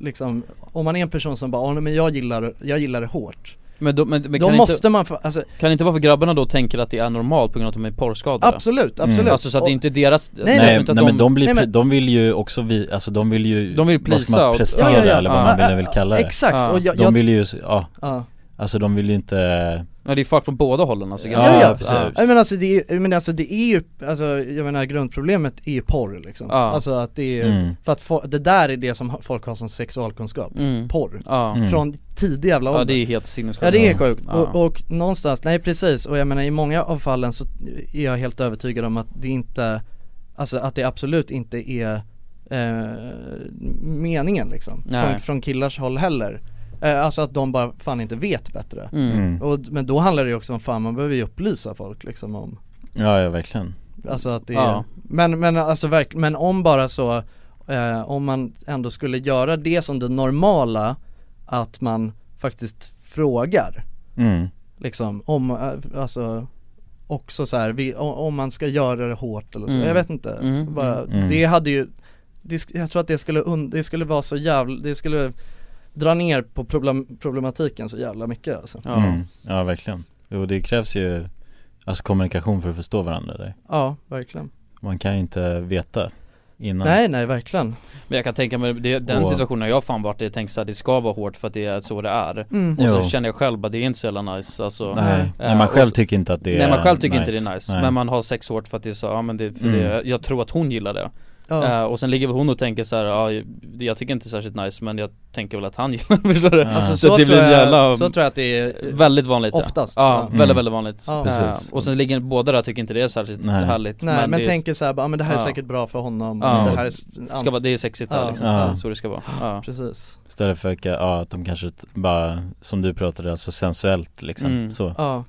liksom, om man är en person som bara, "Åh, nej men jag gillar, jag gillar det hårt Men då, men, men Då kan måste inte, man, fa- alltså, Kan det inte vara för grabbarna då tänker att det är normalt på grund av att de är porrskadade? Absolut, absolut. Mm. Alltså så att det är inte deras, Nej, Nej, jag tror nej, inte att men de, blir, Nej, men- de vill ju också, vi, alltså de vill ju De vill vad ska man- pleasa och- prestera Ja, ja, ja. eller vad Ja. man vill, vill kalla det Exakt, Ja. och jag- De jag- vill ju, ja, Ja. Alltså de vill ju inte Ja det är fuck från båda hållen alltså Ja, ja, precis Ja, men alltså det är, men alltså det är ju, alltså jag menar grundproblemet är ju porr liksom Ja. Alltså att det är, Mm. för att fo- det där är det som ha- folk har som sexualkunskap, Mm. porr Ja. Mm. Från tidig jävla ålder Ja det är helt sinnessjukt Ja det är sjukt, Ja. och, och någonstans, nej precis, och jag menar i många av fallen så är jag helt övertygad om att det inte Alltså att det absolut inte är eh, meningen liksom, Nej. från, från killars håll heller eh, Alltså att de bara fan inte vet bättre Mm. och, Men då handlar det ju också om fan man behöver ju upplysa folk liksom om Ja, ja verkligen Alltså att det är, Ja. men, men alltså verk, men om bara så, eh, om man ändå skulle göra det som det normala, att man faktiskt frågar. Mm. Liksom om, eh, alltså också så här, vi, o- om man ska göra det hårt eller så, Mm. jag vet inte. Mm. Bara, Mm. Det hade ju, det, sk- jag tror att det skulle, und- det skulle vara så jävla, det skulle dra ner på problem, problematiken så jävla mycket alltså. Ja, mm. ja verkligen Jo det krävs ju, alltså kommunikation för att förstå varandra där Ja, verkligen. Man kan ju inte veta innan Nej nej verkligen Men jag kan tänka mig, det, den Och- situationen har jag fan varit i, jag tänkte såhär det ska vara hårt för att det är så det är Mm. Och så Jo. känner jag själv bara det är inte så jävla nice alltså Nej. Eh, Nej, man själv och- tycker inte att det Nej man är själv tycker nice. inte det är nice, Nej. men man har sex hårt för att det är så, ja men det, för Mm. det, jag tror att hon gillar det Ja. Eh, och sen ligger väl hon och tänker så här, ja, jag- jag tycker inte det är särskilt nice men jag tänker väl att han gillar det, förstår du? Alltså, så att det tror blir en jag- jävla, så tror jag att det är, eh, Väldigt vanligt oftast. ja, ja Ja. väldigt Mm. väldigt vanligt Ja. Eh, Precis. Och sen ligger båda där och tycker inte det är särskilt Nej. härligt Nej men, det är- tänker såhär bara, "Ah, men det här är Ja. säkert bra för honom Ja, det här är, det ska vara, det är sexigt här liksom, Ja. så det ska vara ja. Precis Istället för att, ja, att de kanske t- bara, som du pratade, alltså sensuellt liksom Mm. så Ja, Att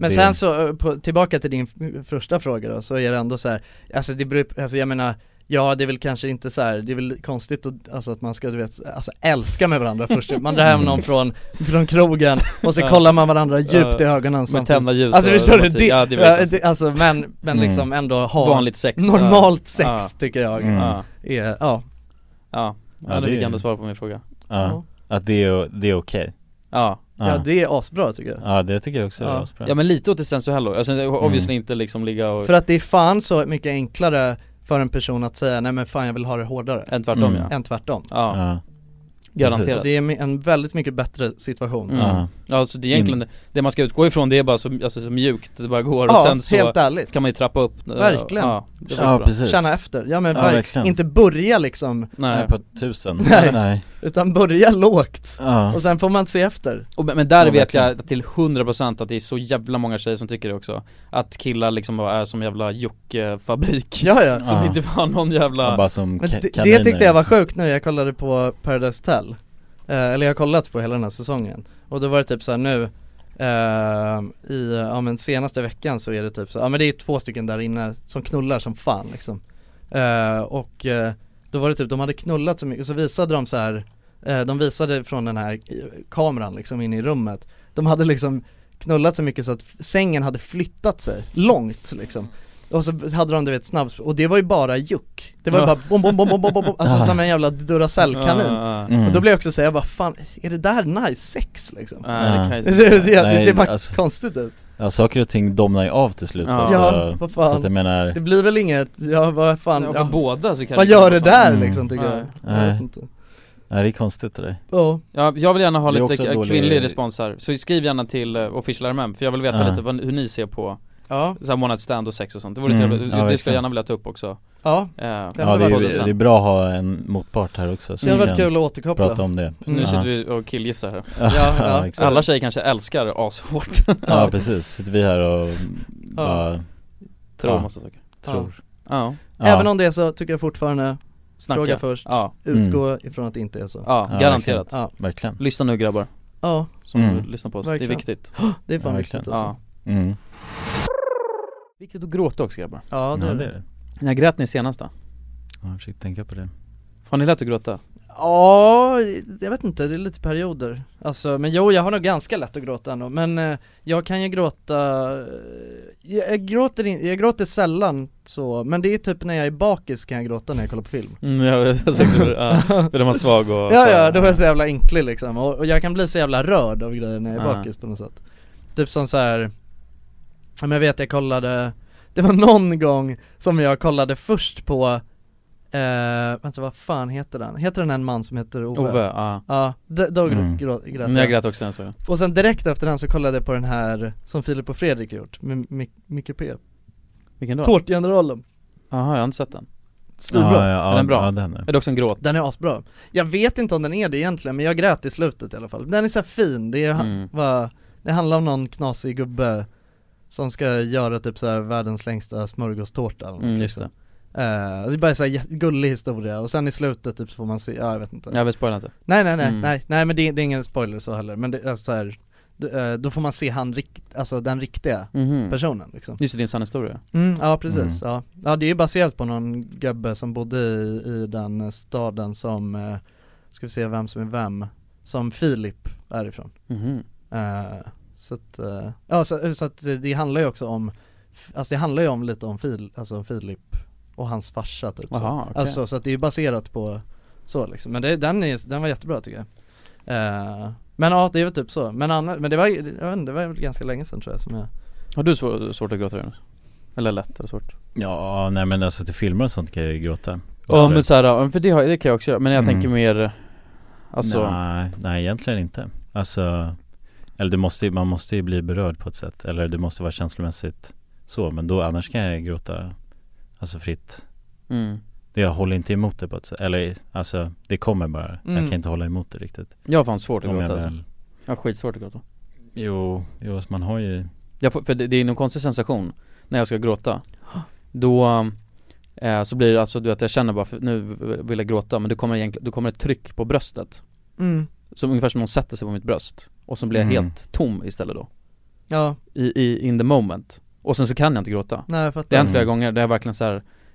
men det- sen så, eh, på, tillbaka till din f- första fråga då, så är det ändå så här, alltså det beror, alltså jag menar Ja det är väl kanske inte så här, det är väl konstigt att, alltså att man ska du vet, alltså älska med varandra först Man drar hem någon från, från krogen och så Ja. kollar man varandra Ja. djupt i ögonen Med samtidigt. tända ljus Alltså och förstår du? romantik. Det, Ja, ja, det det vet jag. det, alltså men, men Mm. liksom ändå ha Vanligt sex, ja. Normalt sex Ja. tycker jag Mm. ja. Är, ja Ja, Ja, ja nu det fick är- Anders svara på min fråga Ja, att det är, det är okej Ja. Ja, det är asbra tycker jag Ja det tycker jag också är asbra Ja men lite åt det sensuella, alltså Mm. obviously inte liksom ligga och För att det är fan så mycket enklare för en person att säga nej men fan jag vill ha det hårdare Än tvärtom, Mm. ja. Än tvärtom Ja. Ja. Garanterat. Så Det är mi- en väldigt mycket bättre situation Mm. Ja. så det är egentligen, det man ska utgå ifrån det är bara så, alltså, så mjukt det bara går Ja, och sen så helt ärligt. kan man ju trappa upp eh, Verkligen Ja, det var Ja, bra. precis. Känna efter, ja men Ja, verk- verkligen. inte börja liksom Nej, på tusen Nej. Nej. Utan börja lågt Ja. och sen får man se efter Och, men- men där Ja, vet verkligen. jag till 100% att det är så jävla många tjejer som tycker det också Att killar liksom bara är som jävla jockfabrik Ja, ja. Som Ja. inte har någon jävla Ja, bara som Men ka- det, det tyckte jag var sjukt nu, jag kollade på Paradise Tell eh, Eller jag har kollat på hela den här säsongen Och då var det typ så här nu eh, I, ja men senaste veckan så är det typ så, ja men det är två stycken där inne som knullar som fan liksom Eh, Och eh, då var det typ, de hade knullat så mycket, så visade de så här Eh, De visade från den här eh, kameran liksom in i rummet De hade liksom knullat så mycket så att f- sängen hade flyttat sig långt liksom och så hade de du vet snabbs och det var ju bara juck Det var Ja. ju bara bom, bom, bom, bom, bom, bom, bom, alltså som en jävla Duracell-kanin Ja, Mm. ja, ja. Och då blev jag också såhär, jag bara fan, är det där nice sex liksom? Nej, det kan ju- det, ser, det, ser, det Nej, ser bara alltså- konstigt ut Ja, saker och ting domnar ju av till slut Ja. alltså, Ja, vad fan. Så att jag menar Det blir väl inget, ja vad fan Ja, för båda så kanske Vad det gör var det så. där Mm. liksom tycker Nej. jag? jag vet Nej. inte. Nej det är konstigt det där Ja. Ja, jag vill gärna ha Det är lite också k- dålig- kvinnlig respons här, så skriv gärna till uh, official RMM för jag vill veta Ja. lite vad, hur ni ser på Ja. så här one night stand och sex och sånt, det vore Mm, trevligt, ja, det, det skulle verkligen. jag gärna vilja ta upp också Ja. Eh, Ja det podden är, sen. det är bra att ha en motpart här också så Det hade vi varit kan kul att återkoppla. Prata om det Nu Mm. Ja. sitter vi och killgissar här Ja, ja, exakt. Alla tjejer kanske älskar ashårt Ja precis, sitter vi här och bara Tror ja, massa saker. Tror Ja. Även om det är så tycker jag fortfarande Snacka. Fråga först, Ja. utgå ifrån att det inte är så Ja, garanterat Ja, Verkligen Lyssna nu grabbar Ja. Som Mm. lyssnar på oss, det Verkligen. är viktigt Det är fan viktigt alltså Mm. Viktigt att gråta också grabbar Ja, det Ja, är det. det är det. När grät ni senast då? Ja, jag försökte tänka på det Har ni lätt att gråta? Ja, jag vet inte, det är lite perioder Alltså, men jo jag har nog ganska lätt att gråta ändå, men eh, jag kan ju gråta eh, jag, jag, gråter in, jag gråter sällan så, men det är typ när jag är bakis kan jag gråta när jag kollar på film Mm, jag vet, jag tänkte på det. Ja, för då är man svag och- Ja ja, då är jag så jävla ynklig liksom, och, och jag kan bli så jävla rörd av grejer när jag är Ja. bakis på något sätt Typ som så här. ja, men jag vet jag kollade, det var någon gång som jag kollade först på Eh, vänta vad fan heter den? Heter den en man som heter Ove? Ove, ja. Ja, d- då grå- Mm. grå- grät Mm, jag grät också den, så jag. Och sen direkt efter den så kollade jag på den här som Filip och Fredrik gjort, med Mic- Micke P Vilken då? Tårtgeneralen Jaha, jag har inte sett den Svinbra. Ja, ja, Är den bra? ja, den är. är det också en gråt? Den är asbra Jag vet inte om den är det egentligen, men jag grät i slutet i alla fall Den är så här fin, det, är, Mm. va, det handlar om någon knasig gubbe Som ska göra typ så här världens längsta smörgåstårta eller något, Mm, just liksom. Eh, och det är bara en så här jä- gullig historia och sen i slutet typ så får man se, ja jag vet inte Jag vill spoila inte. Nej nej nej, Mm. nej, nej men det, det är ingen spoiler så heller, men det, alltså, så här, d- eh, då får man se han, rikt, alltså den riktiga Mhm. personen liksom Just det, din sanna historia Mm, ja precis, ja. ja det är baserat på någon gubbe som bodde i, i den eh, staden som, eh, ska vi se vem som är vem, som Filip är ifrån Mhm. Eh, Så att, eh, ja så, så att det- det handlar ju också om, f- alltså det handlar ju om lite om Fil, alltså Filip och hans farsa typ så. Aha, okej. Alltså så att det är baserat på så liksom, men det, den, är, den var jättebra tycker jag Eh, Men ja det är väl typ så, men annars, men det var, jag vet inte, det var väl ganska länge sedan tror jag som jag Har du svår, svårt att gråta Jonas? Eller lätt eller svårt? Ja, nej men alltså till filmer och sånt kan jag ju gråta Ja men såhär, ja, för det, har, det kan jag också göra, men jag Mm. tänker mer Alltså nej, nej egentligen inte Alltså Eller du måste ju, man måste ju bli berörd på ett sätt Eller det måste vara känslomässigt så Men då annars kan jag gråta Alltså fritt Mm. det, Jag håller inte emot det på ett sätt Eller alltså det kommer bara Mm. Jag kan inte hålla emot det riktigt Jag har fan svårt att Om gråta jag alltså. väl- Jag har skitsvårt att gråta Jo, jo alltså, man har ju jag får, För det, det är någon konstig sensation när jag ska gråta Då eh, så blir det alltså du vet jag känner bara för, nu vill jag gråta men det kommer egentligen, då kommer ett tryck på bröstet Mm. Som ungefär som någon sätter sig på mitt bröst Och sen blir jag Mm. helt tom istället då Ja. I, i, in the moment Och sen så kan jag inte gråta Nej, jag fattar. Det har hänt flera Mm. gånger, det är verkligen så här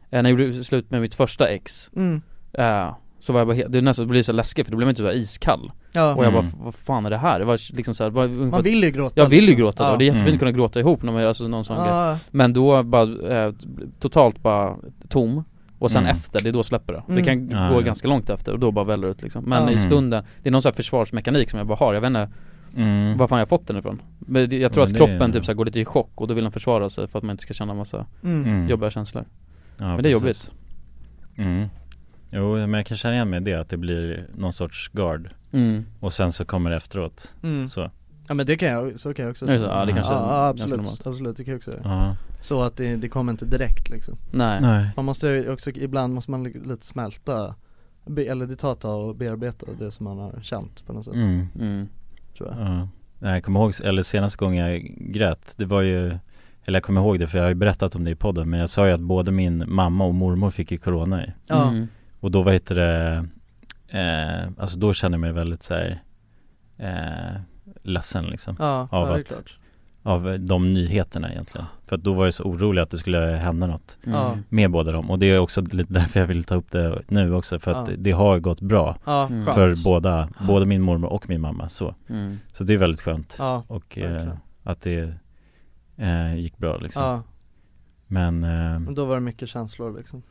eh, När jag gjorde slut med mitt första ex Mm. eh, Så var jag bara helt, det är nästan, det blir så här läskigt för då blev man typ så här iskall Ja. Och jag bara, Mm. "F- vad fan är det här? Det var liksom så här, var, ungefär- vill ju gråta Jag vill ju liksom. gråta Ja. och det är jättefint Mm. att kunna gråta ihop när man gör alltså någon sån Ja, ja. grej Men då bara, eh, totalt bara tom och sen Mm. efter, det är då släpper det. Det Mm. kan Ja, gå ja. ganska långt efter och då bara väller det ut liksom. Men Ja. i Mm. stunden, det är någon sån här försvarsmekanik som jag bara har, jag vet inte Mm. var fan jag fått den ifrån. Men det- jag tror Ja, att men det- kroppen typ så här går lite i chock och då vill den försvara sig för att man inte ska känna massa Mm. jobbiga känslor. Ja, men det är precis. jobbigt. Mm. Jo, men jag kan känna igen mig i det, att det blir någon sorts guard Mm. Och sen så kommer det efteråt, Mm. så Ja men det kan jag, så kan jag också Det är så, ja, det kanske är ja, ganska ja, absolut, normalt. absolut, det kan jag också göra Ja. Så att det, det kommer inte direkt liksom Nej. Nej. Man måste ju också, ibland måste man li- lite smälta be, Eller det tar ett tag att bearbeta det som man har känt Alltså, på något sätt Mm. Tror typ. jag Ja. Nej, Jag kommer ihåg, eller senaste gången jag grät, det var ju Eller jag kommer ihåg det för jag har ju berättat om det i podden Men jag sa ju att både min mamma och mormor fick ju corona ju. Ja. Mm. Och då vad heter det eh, Alltså då kände jag mig väldigt så här eh, Ledsen liksom Ja, av ja, det är att klart. av de nyheterna egentligen. För att då var jag så orolig att det skulle hända något Ja. Mm. med båda dem. Och det är också lite därför jag vill ta upp det nu också. För att Ja. det har gått bra Ja, Mm. för skönt. båda, både min mormor och min mamma. Så, Mm. så det är väldigt skönt. Ja, och eh, verkligen. att det eh, gick bra liksom. Ja. Men eh, Men då var det mycket känslor liksom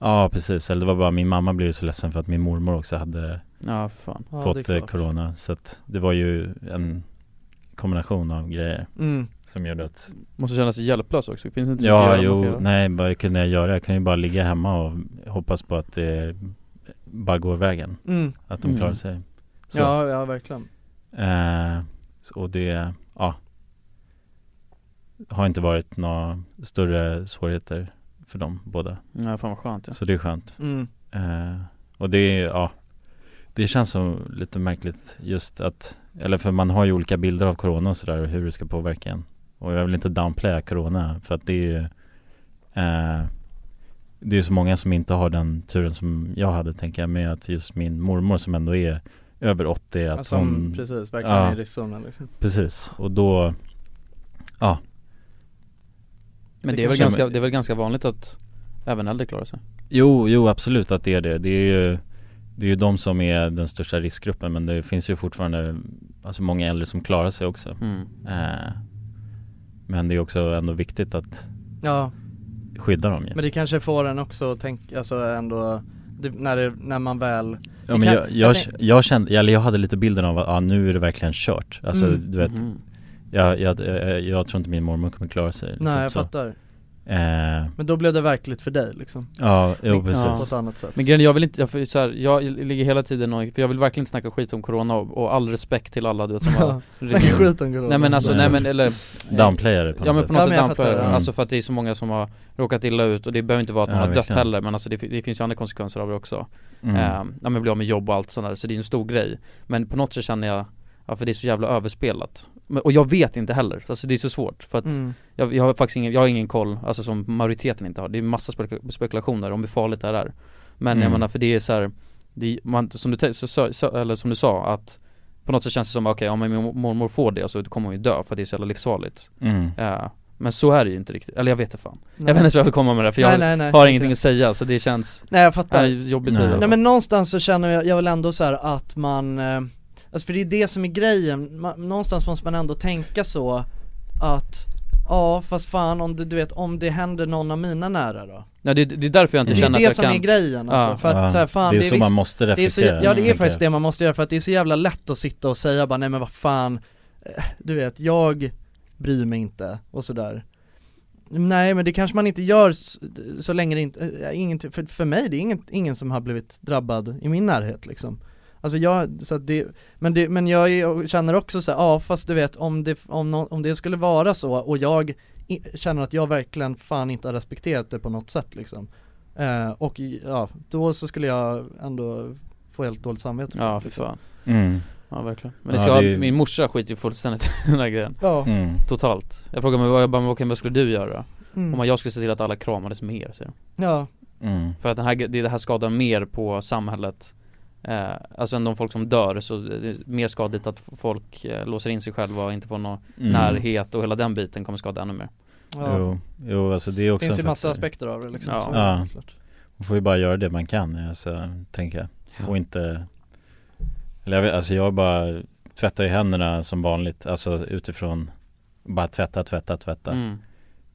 Ja precis, eller det var bara min mamma blev ju så ledsen för att min mormor också hade Ja, fan. Ja, det är fått eh, klart. corona Så att det var ju en kombination av grejer Mm. som gjorde att Måste känna sig hjälplös också, finns det inte så mycket Ja, att göra, man kan jo, göra? nej vad kunde jag göra? Jag kan ju bara ligga hemma och hoppas på att det bara går vägen Mm. Att de Mm. klarar sig Så. Ja, ja verkligen Eh, så- och det, ja Har inte varit några större svårigheter för dem båda Nej, fan vad skönt, ja. Så det är skönt Mm. eh, Och det är, ja Det känns som lite märkligt just att Eller för man har ju olika bilder av corona och sådär och hur det ska påverka en Och jag vill inte downplaya corona för att det är ju eh, Det är ju så många som inte har den turen som jag hade tänker jag med att just min mormor som ändå är över 80 att Ja, som hon Alltså, precis, verkligen är i riskzonen, liksom. Precis, och då Ja Men det är, väl ganska, det är väl ganska vanligt att även äldre klarar sig? Jo, jo absolut att det är det. Det är ju, det är ju de som är den största riskgruppen men det finns ju fortfarande alltså många äldre som klarar sig också. Mm. Eh, men det är också ändå viktigt att Ja. skydda dem ju. Men det kanske får en också att tänka, alltså ändå det, när, det, när man väl Ja, det men kan- jag, jag, tänk- jag kände, eller jag hade lite bilden av att ah, nu är det verkligen kört. Alltså Mm. du vet, Mhm. jag, jag, jag, jag tror inte min mormor kommer klara sig. liksom, Nej jag så. fattar Eh, Men då blev det verkligt för dig liksom Ja, jo, Men- precis. På ett annat sätt Men grejen är, jag vill inte, jag, får ju så här, jag ligger hela tiden och, för jag vill verkligen inte snacka skit om corona och, och all respekt till alla du vet som har Ja, snacka skit om corona. Nej men alltså, nej men eller Downplayar det på på Ja något sätt. men på något Ja, sätt men jag downplayar det. fattar, ja. alltså för att det är så många som har råkat illa ut och det behöver inte vara att Ja, man har dött verkligen. heller men alltså det, fi- det finns ju andra konsekvenser av det också Mm. Ehm, Ja men bli av med jobb och allt sånt där, så det är ju en stor grej Men på något sätt känner jag, ja för det är så jävla överspelat men, Och jag vet inte heller, alltså det är så svårt för att Mm. jag, jag har faktiskt ingen, jag har ingen koll, alltså som majoriteten inte har Det är massa spekula- spekulationer om hur farligt det här är Men jag Mm. menar för det är så här, det, man, som, du, te- så, så, så, eller som du sa att På något sätt känns det som, okej om min mormor får det så kommer hon ju dö för att det är så jävla livsfarligt Mm. Ja, Men så är det ju inte riktigt, eller jag vet inte fan Nej. Jag vet inte så jag vill komma med det för jag Nej, nej, nej, har inte ingenting det. att säga så det känns Nej jag fattar Ja, jobbigt tid i alla fall. Nej men någonstans så känner jag, jag väl ändå så här att man eh, Alltså för det är det som är grejen, Ma- någonstans måste man ändå tänka så att Ja fast fan om du, du vet om det händer någon av mina nära då Ja det, det är därför jag inte Det är känner det att jag som kan är grejen alltså, för att Ja. så här, fan, Det är så man måste det är så, reflektera, Ja det är tänker faktiskt jag. det man måste göra för att det är så jävla lätt att sitta och säga bara nej men vad fan eh, Du vet, jag bryr mig inte och sådär Nej men det kanske man inte gör så, så länge det inte, eh, ingen, för, för mig det är ingen, ingen som har blivit drabbad i min närhet liksom Alltså jag, så att det, men, det, men jag är- känner också så här, ja fast du vet om det, om, nå- om det skulle vara så och jag i, känner att jag verkligen fan inte har respekterat det på något sätt liksom eh, Och i- ja, då så skulle jag ändå få helt dåligt samvete Ja för fan Mm. Ja verkligen Men det Ja, ska, det är ju- min morsa skiter ju fullständigt i den här grejen Ja. Mm. Totalt Jag frågar mig vad, jag bara, men okej, vad skulle du göra? Mm. Hon bara, jag skulle se till att alla kramades mer säger hon. Ja. Mm. För att den här, gre- det det här skadar mer på samhället eh, Alltså än de folk som dör så det är mer skadligt att f- folk eh, låser in sig själva och inte får någon Mm. närhet och hela den biten kommer skada ännu mer Ja. Jo, jo, alltså det är också Finns ju en massa faktor. aspekter av det, liksom, Ja. så- Ja, klart. man får ju bara göra det man kan, alltså, tänker jag Och inte Eller jag vet, alltså jag bara tvättar ju händerna som vanligt, alltså utifrån Bara tvätta, tvätta, tvätta Mm.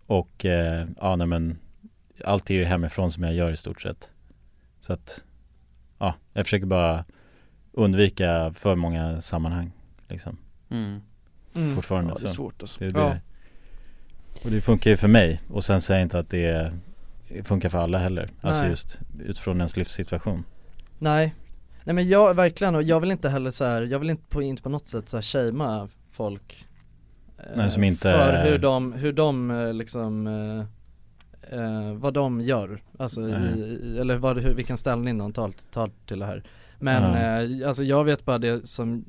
Och, eh, ja nej men Allt är ju hemifrån som jag gör i stort sett Så att Ja, jag försöker bara undvika för många sammanhang liksom Mm. Mm. Fortfarande Ja, det är så. svårt, alltså. det, är det. Ja. Och det funkar ju för mig och sen säger jag inte att det är- funkar för alla heller Alltså Nej. just utifrån ens livssituation Nej Nej men jag, verkligen, och jag vill inte heller så här, jag vill inte på, inte på något sätt så här shamea folk eh, Nej, som inte- För hur de, hur de eh, liksom eh, eh, Vad de gör, alltså i, Nej. i- eller vad, hur, vilken ställning de tar, tar till det här Men eh, alltså jag vet bara det som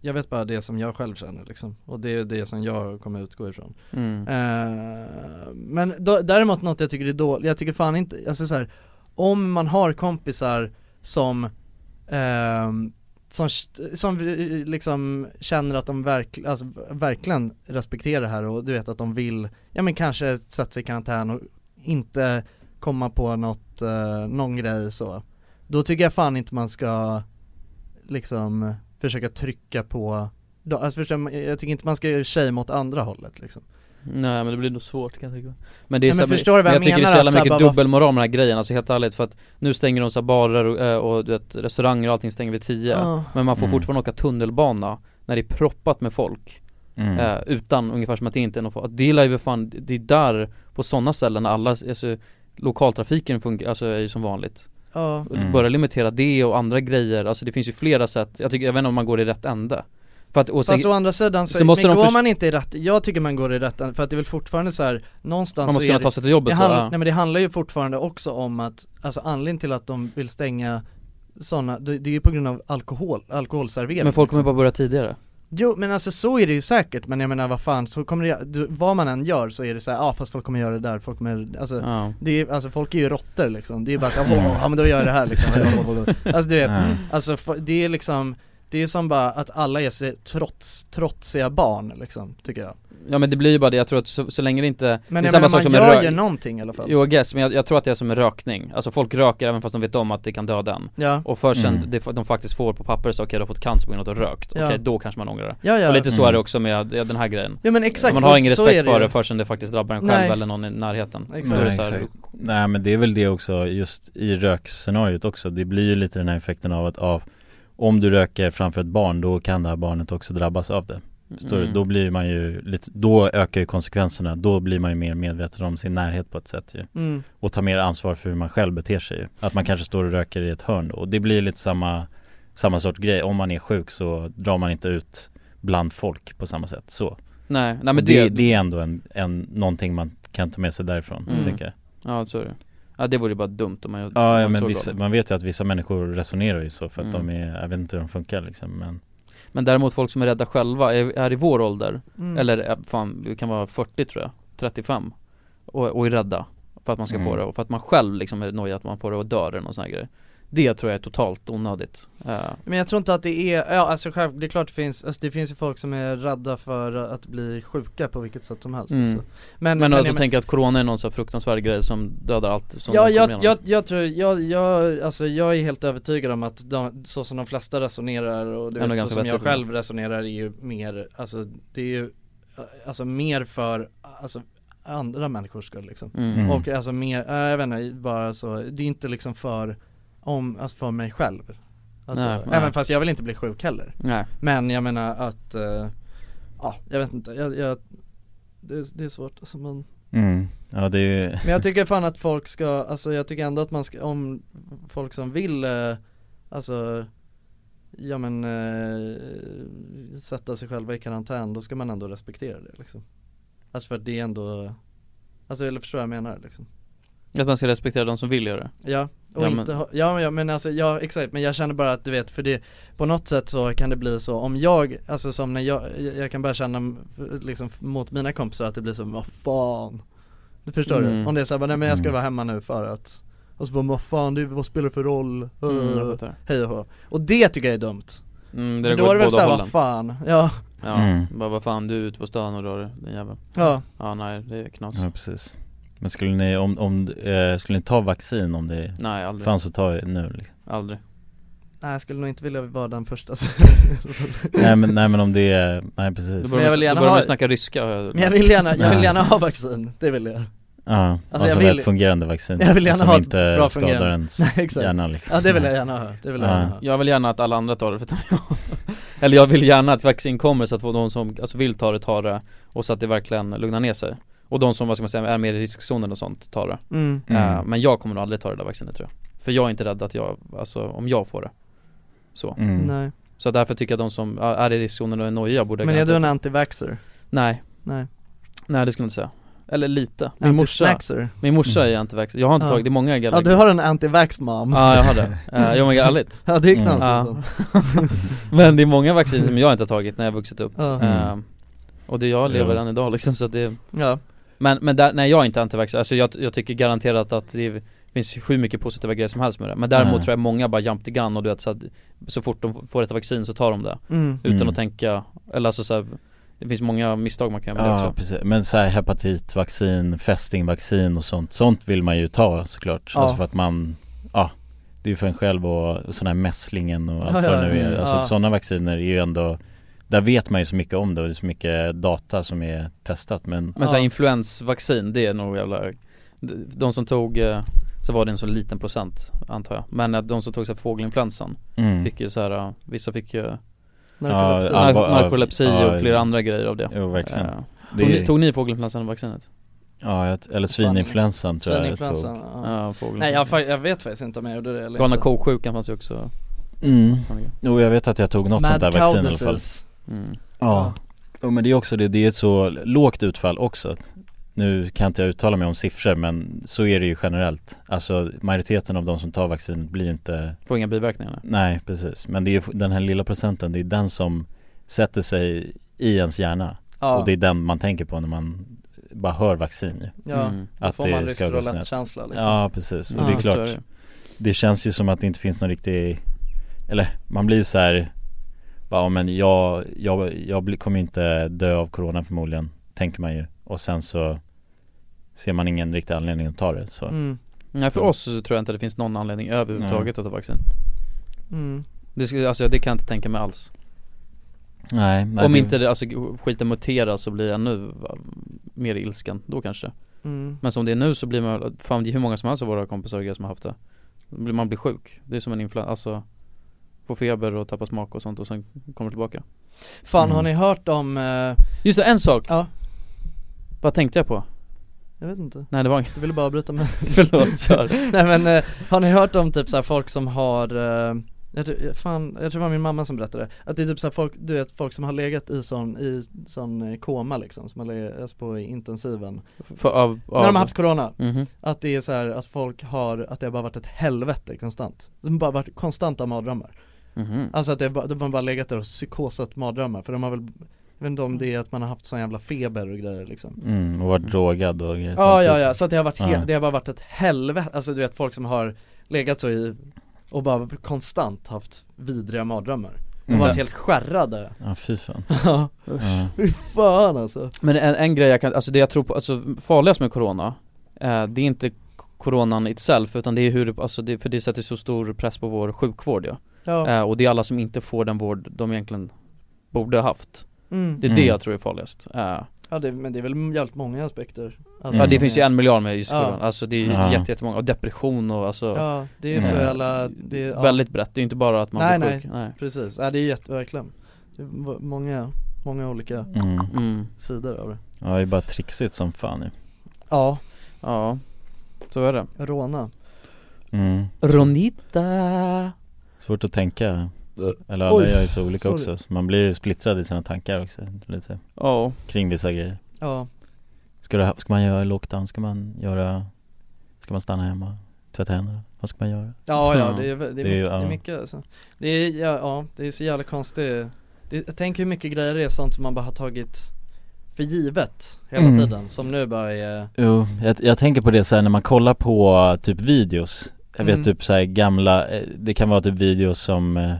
Jag vet bara det som jag själv känner liksom Och det är det som jag kommer utgå ifrån Mm. Eh, men då, däremot något jag tycker är dåligt, jag tycker fan inte, alltså så här, om man har kompisar som ehm, som, som vi liksom känner att de verk, alltså, verkligen respekterar det här och du vet att de vill, ja men kanske sätta sig i karantän och inte komma på något, eh, någon grej så. Då tycker jag fan inte man ska liksom försöka trycka på, då- alltså förstår, jag, jag tycker inte man ska göra tjej mot andra hållet liksom. Nej men det blir nog svårt kan jag tycka Men det är Nej, så men här- förstår du vad jag jag tycker det är menar? så jävla Att så här mycket bara, vad- dubbelmoral med den här grejen, alltså helt ärligt för att Nu stänger de så här barer och, eh, och du vet, restauranger och allting stänger vid 10 Ja. Men man får Mm. fortfarande åka tunnelbana När det är proppat med folk Mm. eh, Utan, ungefär som att det inte är någon fara. Det är ju fan, det är där På sådana ställen när alla, alltså Lokaltrafiken funkar, alltså är ju som vanligt Ja. Mm. Börja limitera det och andra grejer, alltså det finns ju flera sätt Jag tycker, jag vet inte om man går i rätt ände för att, och Fast å andra sidan så, måste men de går förs- man inte i rätt, jag tycker man går i rätt för att det är väl fortfarande så här någonstans så Man måste Alltså, är kunna det- ta sig till jobbet, det så, handlar, ja. Nej men det handlar ju fortfarande också om att, alltså anledningen till att de vill stänga sådana, det, det är ju på grund av alkohol, alkoholservering Men folk kommer bara börja tidigare Jo men alltså så är det ju säkert, men jag menar vad fan, så kommer det, du, vad man än gör så är det så här, ja ah, fast folk kommer göra det där, folk kommer, alltså, Ja. det är, alltså folk är ju råttor liksom, det är bara så här, "Åh, ja men då gör jag det här liksom, alltså du vet, Ja. alltså fo- det är liksom, det är som bara att alla är så trots, trotsiga barn liksom, tycker jag Ja men det blir ju bara det, jag tror att så, så länge det inte Men det jag menar, är samma sak man som gör rök- ju någonting i alla fall. Jo I guess, men jag, jag tror att det är som en rökning Alltså folk röker även fast de vet om att det kan döda en Ja. Och först sen Mm. det, de faktiskt får på papper så okej du har fått cancer på grund av att du har rökt Ja. Okej då kanske man ångrar det Ja, ja. Och lite så Mm. är det också med ja, den här grejen Ja, men exakt, Man har och ingen så är respekt det för ju. det förrän det faktiskt drabbar en Nej. själv eller någon i närheten Då är liksom, Exakt. Nej, det så här, exakt. Nej men det är väl det också just i rökscenariot också Det blir ju lite den här effekten av att av, om du röker framför ett barn då kan det här barnet också drabbas av det Förstår du? Mm. Då blir man ju lite, då ökar ju konsekvenserna Då blir man ju mer medveten om sin närhet på ett sätt ju Mm. Och tar mer ansvar för hur man själv beter sig ju. Att man kanske står och röker i ett hörn då Och det blir lite samma, samma sorts grej Om man är sjuk så drar man inte ut bland folk på samma sätt så Nej, nej, men det, det- det är ändå en, en, någonting man kan ta med sig därifrån Mm. tänker jag Ja så är det Ja det vore ju bara dumt om man gjorde om Ja, ja man men såg vissa, dem. man vet ju att vissa människor resonerar ju så för att Mm. de är, jag vet inte hur de funkar liksom men Men däremot folk som är rädda själva, är, är i vår ålder, Mm. eller eh, fan, vi kan vara 40 tror jag, 35 Och, och är rädda för att man ska få Mm. det och för att man själv liksom är nojig att man får det och dör eller någon sån här grej Det tror jag är totalt onödigt Eh, Men jag tror inte att det är, ja alltså själv, det är klart det finns, alltså det finns ju folk som är rädda för att bli sjuka på vilket sätt som helst Mm. alltså. Men, men att jag du men- tänker att corona är någon så här fruktansvärd grej som dödar allt som ja, kommer jag, igenom. jag, jag tror, jag, jag, alltså jag är helt övertygad om att de, så som de flesta resonerar och du Ändå vet, så ganska som jag vettigt. själv resonerar är ju mer, alltså det är ju, eh, alltså mer för, alltså andra människors skull liksom. Mm. Och alltså mer, eh, jag vet inte, bara så, det är inte liksom för, om, alltså för mig själv. Alltså, Nej, även nej. fast jag vill inte bli sjuk heller. Nej. Men jag menar att, eh, ja jag vet inte, jag, jag det, det är svårt alltså man mm. Ja det är ju men jag tycker fan att folk ska, alltså jag tycker ändå att man ska, om folk som vill, eh, alltså Ja men eh, sätta sig själva i karantän, då ska man ändå respektera det liksom Alltså för att det är ändå, alltså eller förstår vad jag menar liksom Att man ska respektera de som vill göra det Ja, och Ja, men- inte ha, ja, men- ja men alltså, ja exakt, men jag känner bara att du vet för det På något sätt så kan det bli så om jag, alltså som när jag, jag kan börja känna m- liksom mot mina kompisar att det blir så, vad fan Du förstår Mm. du? Om det är såhär, nej men jag ska Mm. vara hemma nu för att Och så bara, vad fan, det, vad spelar det för roll? Mm, jag Uh, fattar. hej och hå Och det tycker jag är dumt Mm, För det då går är det väl båda såhär, hållen. vad fan, ja Ja, bara vad fan du är ute på stan och rör den jäveln Ja. Ja nej det är knas Ja precis Men skulle ni, om, om eh, skulle ni ta vaccin om det Nej, aldrig. fanns att ta nu liksom? Aldrig Nej jag skulle nog inte vilja vara den första Nej men, nej men om det är, nej precis Men jag vill gärna ha- Men jag vill gärna, jag vill gärna ha vaccin, det vill jag Ja, alltså jag jag vill- ett fungerande vaccin Jag vill gärna som ha ett inte bra skadar fungerande- ens Nej, exakt. hjärna liksom Ja, det vill jag gärna ha, det vill jag gärna ha. Jag vill gärna att alla andra tar det förutom jag Eller jag vill gärna att vaccin kommer så att de som alltså vill ta det tar det Och så att det verkligen lugnar ner sig Och de som, vad ska man säga, är mer i riskzonen och sånt tar det Mm. Eh, Mm. Men jag kommer nog aldrig ta det där vaccinet tror jag För jag är inte rädd att jag, alltså om jag får det Så Mm. Nej. Så därför tycker jag att de som ja, är i riskzonen och är nojiga borde Men är du en garanterat- anti-vaxxer? Nej Nej Nej det skulle jag inte säga Eller lite, min morsa, Anti-snackser? min morsa är anti-vaxxer, jag har inte Mm. Ja. tagit, det är många Ja du har en anti-vax mom Ja jag har det, uh, jo men ärligt Ja det är Mm. knasigt Ja. Men det är många vacciner som jag inte har tagit när jag vuxit upp Ja. Mm. Eh, Och det jag lever Ja. än idag liksom så att det Ja. Men, men där, nej jag är inte antivaxxare, alltså jag, jag tycker garanterat att det är finns hur mycket positiva grejer som helst med det Men däremot Mm. tror jag många bara jump the gun och du vet så, att, så fort de får ett vaccin så tar de det Mm. Utan Mm. att tänka, eller alltså så här, Det finns många misstag man kan göra med det Ja, också precis. Men så här hepatitvaccin, fästingvaccin och sånt, sånt vill man ju ta såklart. Ja. Alltså för att man, ja, det är ju för en själv och sån här mässlingen och allt Ja, vad det ja, nu är. mm, Alltså ja. sådana vacciner är ju ändå, där vet man ju så mycket om det och det är så mycket data som är testat men Men så här, influensvaccin, det är nog jävla de- De som tog, eh, så var det en så liten procent antar jag Men att de som tog så här, fågelinfluensan Mm. fick ju så här, eh, vissa fick ju Narkolepsi. Ja, Nark- allvar- narkolepsi ja, och flera andra grejer av det Jo, verkligen. Eh, Det Tog, är- ni, tog ni fågelinfluensan-vaccinet? Ja, jag- eller svininfluensan tror jag jag Svininfluensan, tog. ja. Ja, fågeln. Nej jag, fa- jag vet faktiskt inte om jag gjorde det eller Galna inte. ko-sjukan fanns ju också Mm. Jo jag vet att jag tog något Mad sånt där cow vaccin i alla fall disease. Mm. Ja, Jo, men det är också det, det är ett så lågt utfall också att Nu kan inte jag uttala mig om siffror men så är det ju generellt Alltså majoriteten av de som tar vaccinet blir ju inte Får inga biverkningar Nej precis, men det är ju den här lilla procenten, det är den som sätter sig i ens hjärna Ja. Och det är den man tänker på när man bara hör vaccin ju Ja, Mm. då Att får man det rysk ska gå snett roulette-känsla, liksom. Ja precis, och Ja, det är så klart är det. det känns ju som att det inte finns någon riktig Eller man blir ju så här bara, ja, men jag, jag, jag blir- kommer ju inte dö av corona förmodligen Tänker man ju Och sen så Ser man ingen riktig anledning att ta det så Mm. Nej för oss så tror jag inte det finns någon anledning överhuvudtaget att ta vaccin Mm. det, skulle- alltså, det kan jag inte tänka mig alls Nej, nej, Om det- inte det, alltså, skiten muterar så blir jag nu va, mer ilsken, då kanske Mm. Men som det är nu så blir man, fan det är hur många som helst av våra kompisar och grejer som har haft det Blir- Man blir sjuk, det är som en influensa, alltså Får feber och tappar smak och sånt och sen kommer tillbaka Fan Mm. har ni hört om... eh, Just det, en sak! Ja Vad tänkte jag på? Jag vet inte Nej det var inget Du ville bara avbryta mig Förlåt, kör. Nej men eh, har ni hört om typ så här folk som har eh, jag tror, fan, jag tror det var min mamma som berättade Att det är typ så här folk, du vet folk som har legat i sån, i sån eh, koma liksom Som har legat på intensiven För- av- När av- de har haft corona Mhm. Att det är så här att folk har, att det har bara varit ett helvete konstant De har bara varit konstanta mardrömmar Mhm. Alltså att det, bara- de har bara legat där och psykosat mardrömmar För de har väl, jag vet inte om det är att man har haft sån jävla feber och grejer liksom mm, Och varit drogad och grejer Ja ja samtidigt. ja, så att det har varit, he- Ja. det har bara varit ett helvete, alltså du vet folk som har legat så i och bara konstant haft vidriga mardrömmar De har Mm. varit helt skärrade Ja fy fan Ja, fy fan alltså Men en, en grej jag kan, alltså det jag tror på, alltså farligast med corona eh, Det är inte k- coronan itself utan det är hur, det- alltså det, för det sätter så stor press på vår sjukvård ja. Ja. Eh, och det är alla som inte får den vård de egentligen borde ha haft Mm. Det är det Mm. jag tror är farligast eh, Ja det, men det är väl jävligt många aspekter alltså, Ja som det finns ju är- en miljard med just Ja. Mm. corona, alltså det är ju Ja. jätte, jättemånga, och depression och alltså Ja, det är så eh, jävla- det är- ja. Väldigt brett, det är ju inte bara att man nej, blir nej, sjuk nej. precis, ja det är jätte, verkligen det är v- många, många olika Mm. Mm. sidor av det Ja det är bara trixigt som fan ju Ja Ja, så är det Råna mm. Ronita Svårt att tänka Eller Oj. alla gör ju så olika Sorry. också så man blir ju splittrad i sina tankar också lite Ja. Kring vissa grejer Ja. Ska, du, ha- ska man göra lockdown? Ska man göra Ska man stanna hemma? Tvätta händerna? Vad ska man göra? Ja Mm. ja, det är, vä- det är, mycket, ju- det är ja. mycket alltså. Det är, ja, ja, det är så jävla konstigt det, Jag tänker hur mycket grejer det är sånt som man bara har tagit för givet hela Mm. tiden Som nu bara är Jo, jag, jag tänker på det så här när man kollar på eh, typ videos Jag vet Mm. typ så här gamla, eh, det kan vara typ videos som eh,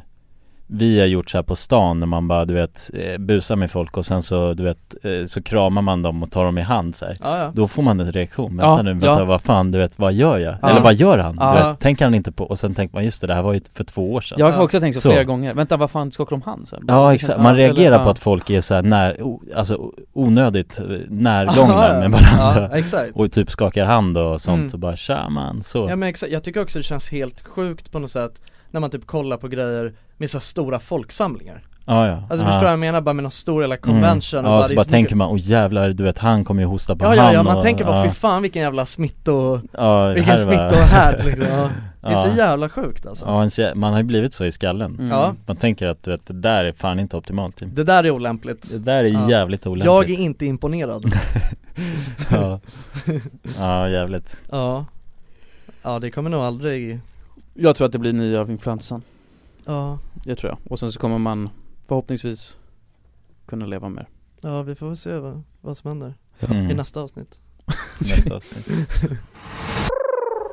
vi har gjort så här på stan när man bara du vet eh, busar med folk och sen så du vet eh, så kramar man dem och tar dem i hand så här. Ja, ja. Då får man en reaktion, Ja, vänta nu, vänta ja. vad fan du vet vad gör jag? Ja. Eller vad gör han? Ja. Du vet, tänker han inte på och sen tänker man just det, det här var ju för två år sedan Jag har också tänkt så, flera gånger, vänta vad fan skakar de hand? Så här, Ja exakt, man eller- reagerar ja. på att folk är så här när, o- alltså o- onödigt eh, Ja, ja. närgångna med varandra Ja, exakt. Och typ skakar hand och sånt Mm. och bara tja man så Ja men exakt, jag tycker också det känns helt sjukt på något sätt När man typ kollar på grejer med så här stora folksamlingar Ja, ja. Alltså Ja. förstår du vad jag menar? Bara med någon stor jävla convention mm. Ja det så är bara så mycket- tänker man, åh jävlar du vet han kommer ju hosta på Ja ja han ja, man och, tänker bara ja. fy fan vilken jävla smitto, Ja, det vilken här var- smittohärd liksom ja. Det är Ja. så jävla sjukt alltså Ja, ens jä- man har ju blivit så i skallen Mm. Ja. Man tänker att du vet, det där är fan inte optimalt typ. Det där är olämpligt Det där är Ja. jävligt olämpligt Jag är inte imponerad ja. ja, jävligt Ja Ja det kommer nog aldrig Jag tror att det blir nya av influensan Ja. Det tror jag, och sen så kommer man förhoppningsvis kunna leva mer Ja vi får väl se vad, vad som händer Mm. Mm. i nästa avsnitt Nästa avsnitt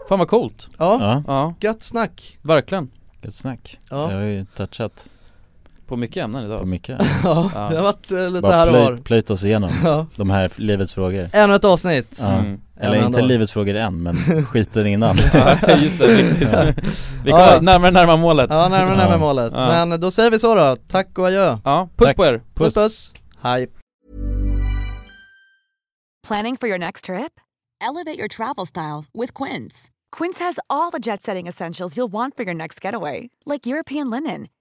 Fan vad coolt! Ja, ja. gött snack! Verkligen Gött snack Ja. Jag har ju touchat På mycket ämnen idag på mycket Ja, det har varit eh, lite här och Bara var plöjt, plöjt oss igenom Ja. de här livets frågor Ännu ett avsnitt! Ja. Mm. Eller Ännu inte en dag. livets frågor än men skiten innan Ja, just det, riktigt. Ja. Vi Ja. kommer närmare närmare målet Ja, närmare närmare målet. Ja. Men då säger vi så då, tack och adjö! Ja, puss Tack. på er! Puss puss! Hej! Planning for your next trip? Elevate your travel style with Quince. Quince has all the jet setting essentials you'll want for your next getaway, like European linen,